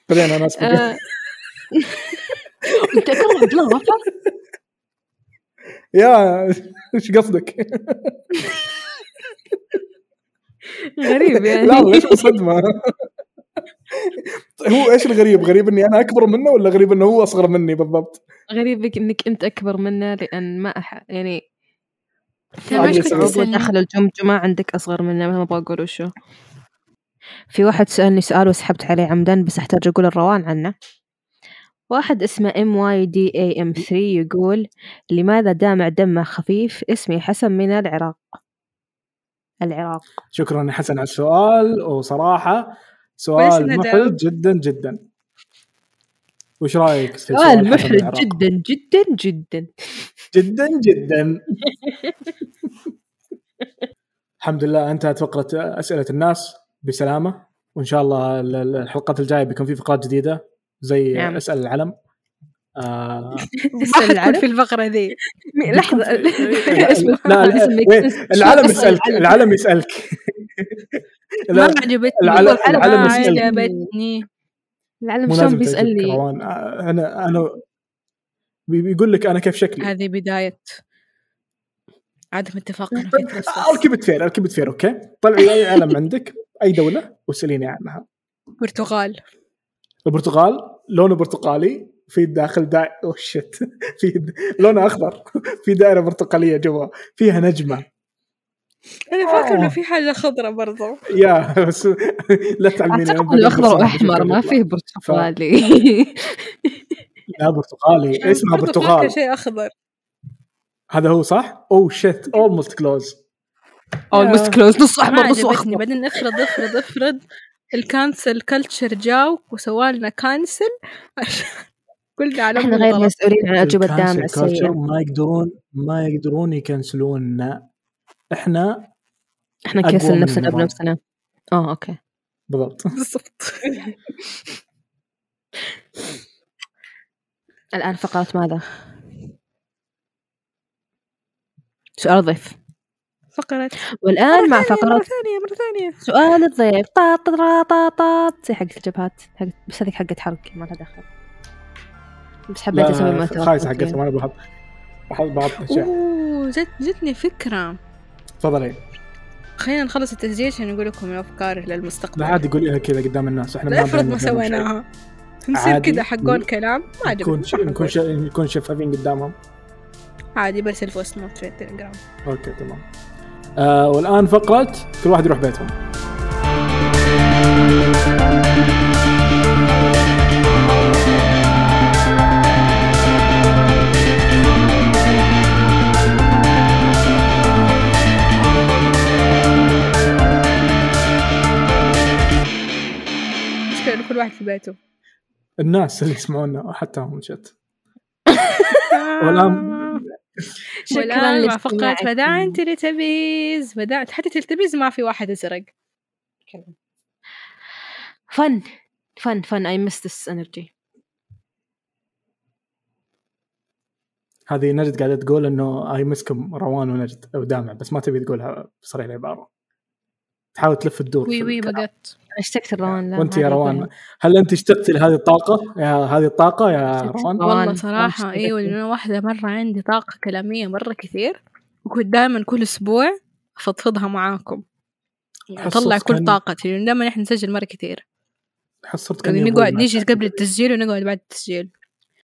Speaker 1: بعدين انا اسف
Speaker 3: آه. انت كره عبد الله وفا
Speaker 1: يا ايش قصدك؟
Speaker 3: غريب يعني
Speaker 1: لا والله ايش الصدمه؟ هو ايش الغريب؟ غريب اني انا اكبر منه ولا غريب انه هو اصغر مني بالضبط؟
Speaker 3: غريب بك انك انت اكبر منه لان ما أح... يعني
Speaker 2: أنا
Speaker 1: عادي
Speaker 2: ما كنت
Speaker 1: يسوي.
Speaker 2: أسأل-
Speaker 3: داخل الجمجمة عندك اصغر منه ما ابغى اقول وشو في واحد سألني سؤال وسحبت عليه عمدا بس احتاج اقول الروان عنه واحد اسمه ام واي دي اي ام 3 يقول لماذا دامع دمه خفيف اسمي حسن من العراق العراق
Speaker 1: شكرا يا حسن على السؤال وصراحه
Speaker 2: كويس إني
Speaker 1: سؤال
Speaker 2: أجاوب.
Speaker 1: محرج جدا جدا وش رايك في
Speaker 3: سؤال
Speaker 1: حسن
Speaker 3: محرج
Speaker 1: العراق؟
Speaker 3: جدا جدا جدا
Speaker 1: جدا جدا الحمد لله انتهت فقره اسئله الناس بسلامه وان شاء الله ال- ال- الحلقات الجايه بيكون في فقرات جديده زي
Speaker 3: نعم.
Speaker 1: نعم. اسال العلم آه،
Speaker 2: ما حتكون في الفقرة ذي
Speaker 3: مي- لحظة
Speaker 1: لا،
Speaker 3: اسم
Speaker 1: لا،
Speaker 3: الفقرة
Speaker 1: لا،
Speaker 3: اسم make
Speaker 1: وين؟
Speaker 3: sense.
Speaker 1: العلم
Speaker 3: شلون
Speaker 1: يسالك
Speaker 3: أسأل العلم؟
Speaker 1: العلم يسالك
Speaker 2: ما
Speaker 1: لا
Speaker 2: عجبتني
Speaker 1: العلم- العلم
Speaker 2: ما
Speaker 1: مسألة.
Speaker 2: عجبتني
Speaker 3: العلم
Speaker 1: مو
Speaker 3: شلون
Speaker 1: لازم
Speaker 3: بيسألني
Speaker 1: تعجبك روان آه، انا انا بي- بيقول لك انا كيف شكلي
Speaker 2: هذه بداية عدم اتفاقنا في
Speaker 1: آه،
Speaker 2: الترسس
Speaker 1: ركبت فيل ركبت فيل اوكي طلعي اي علم عندك اي دوله واساليني عنها
Speaker 2: برتغال
Speaker 1: البرتغال لونه برتقالي في داخل دائره اوه شت في د- لونها اخضر في دائره برتقاليه جوا فيها نجمه
Speaker 2: انا فاكر انه في حاجه خضرة برضو
Speaker 1: يا بس لا تعلمين
Speaker 3: اعتقد اخضر واحمر ما فيه برتقالي
Speaker 1: لا
Speaker 2: يعني
Speaker 1: برتقالي اسمها
Speaker 2: برضو فاكرة
Speaker 1: برتقال
Speaker 2: شيء اخضر
Speaker 1: هذا هو صح؟ Oh اوه شيت اولموست كلوز
Speaker 3: اولموست كلوز نص
Speaker 2: ما
Speaker 3: احمر نص
Speaker 2: عجبتني
Speaker 3: اخضر
Speaker 2: بعدين افرض افرض افرض الكانسل كلتشر جاو وسوالنا كانسل عشان قلنا على
Speaker 3: احنا غير مسؤولين عن اجوبه دامه السيئه
Speaker 1: ما يقدرون ما يقدرون يكنسلوننا احنا
Speaker 3: احنا
Speaker 1: أقوى
Speaker 3: نكسل
Speaker 1: من
Speaker 3: نفسنا
Speaker 1: النظام.
Speaker 3: بنفسنا اه اوكي
Speaker 1: بالضبط
Speaker 2: بالضبط
Speaker 3: الان فقره ماذا؟ سؤال ضيف
Speaker 2: فقرة
Speaker 3: والان مع فقره
Speaker 2: مرة ثانية مرة ثانية
Speaker 3: سؤال الضيف طا طا طا طا طا زي حقت الجبهات حق بس هذيك حقت حرق ما لها دخل بس حبيت اسوي
Speaker 1: لا،
Speaker 3: ما
Speaker 1: خايس حقتهم انا بحط بحط بعض الاشياء
Speaker 2: اوه جت جتني فكرة
Speaker 1: تفضلي
Speaker 2: خلينا نخلص التسجيل عشان نقول لكم الافكار
Speaker 1: لا
Speaker 2: للمستقبل
Speaker 1: عادي قوليها كذا قدام الناس احنا
Speaker 2: لا افرض
Speaker 1: بن-
Speaker 2: ما
Speaker 1: بنعمل شيء.
Speaker 2: سويناها نصير
Speaker 1: عادي.
Speaker 2: كذا حقون كلام ما عجبني
Speaker 1: نكون ش- نكون ش- نكون شفافين قدامهم
Speaker 2: عادي برسل فويس نوت في التليجرام
Speaker 1: اوكي تمام آه والان فقره كل واحد يروح بيتهم
Speaker 2: مشكلة إنه كل واحد في بيته
Speaker 1: الناس اللي يسمعونا حتى هم شت
Speaker 2: آه.
Speaker 1: والآن-
Speaker 2: والآن مع فقرة
Speaker 3: لاستماعكم.
Speaker 2: بدعا تلتبيز بدعا حتى تلتبيز ما في واحد أزرق
Speaker 3: فن فن فن اي مس ذس انرجي
Speaker 1: هذه نجد قاعده تقول انه اي مسكم روان ونجد او دامع بس ما تبي تقولها بصريح العباره تحاول تلف الدور
Speaker 2: وي
Speaker 1: في
Speaker 2: وي
Speaker 1: الكلام.
Speaker 2: بقت
Speaker 3: اشتقت لروان لا،
Speaker 1: وانت
Speaker 3: ما
Speaker 1: يا
Speaker 3: عليك،
Speaker 1: روان
Speaker 3: ما
Speaker 1: هل انت اشتقتي لهذه الطاقه يا هذه الطاقه يا
Speaker 3: اشتقت
Speaker 1: روان
Speaker 3: لها.
Speaker 2: والله
Speaker 3: طبعاً.
Speaker 2: صراحة
Speaker 3: طبعاً
Speaker 2: أيوة لأن أنا واحدة مرة عندي طاقة كلامية مرة كثير وكنت دائما كل أسبوع أفضفضها معاكم
Speaker 1: أحس
Speaker 2: أطلع
Speaker 1: صوتك
Speaker 2: كل
Speaker 1: كان-
Speaker 2: طاقتي لأن دائما إحنا نسجل مرة كثير
Speaker 1: حصرت
Speaker 2: يعني
Speaker 1: كأني
Speaker 2: نقعد
Speaker 1: أبوي
Speaker 2: نيجي
Speaker 1: معك.
Speaker 2: قبل التسجيل ونقعد بعد التسجيل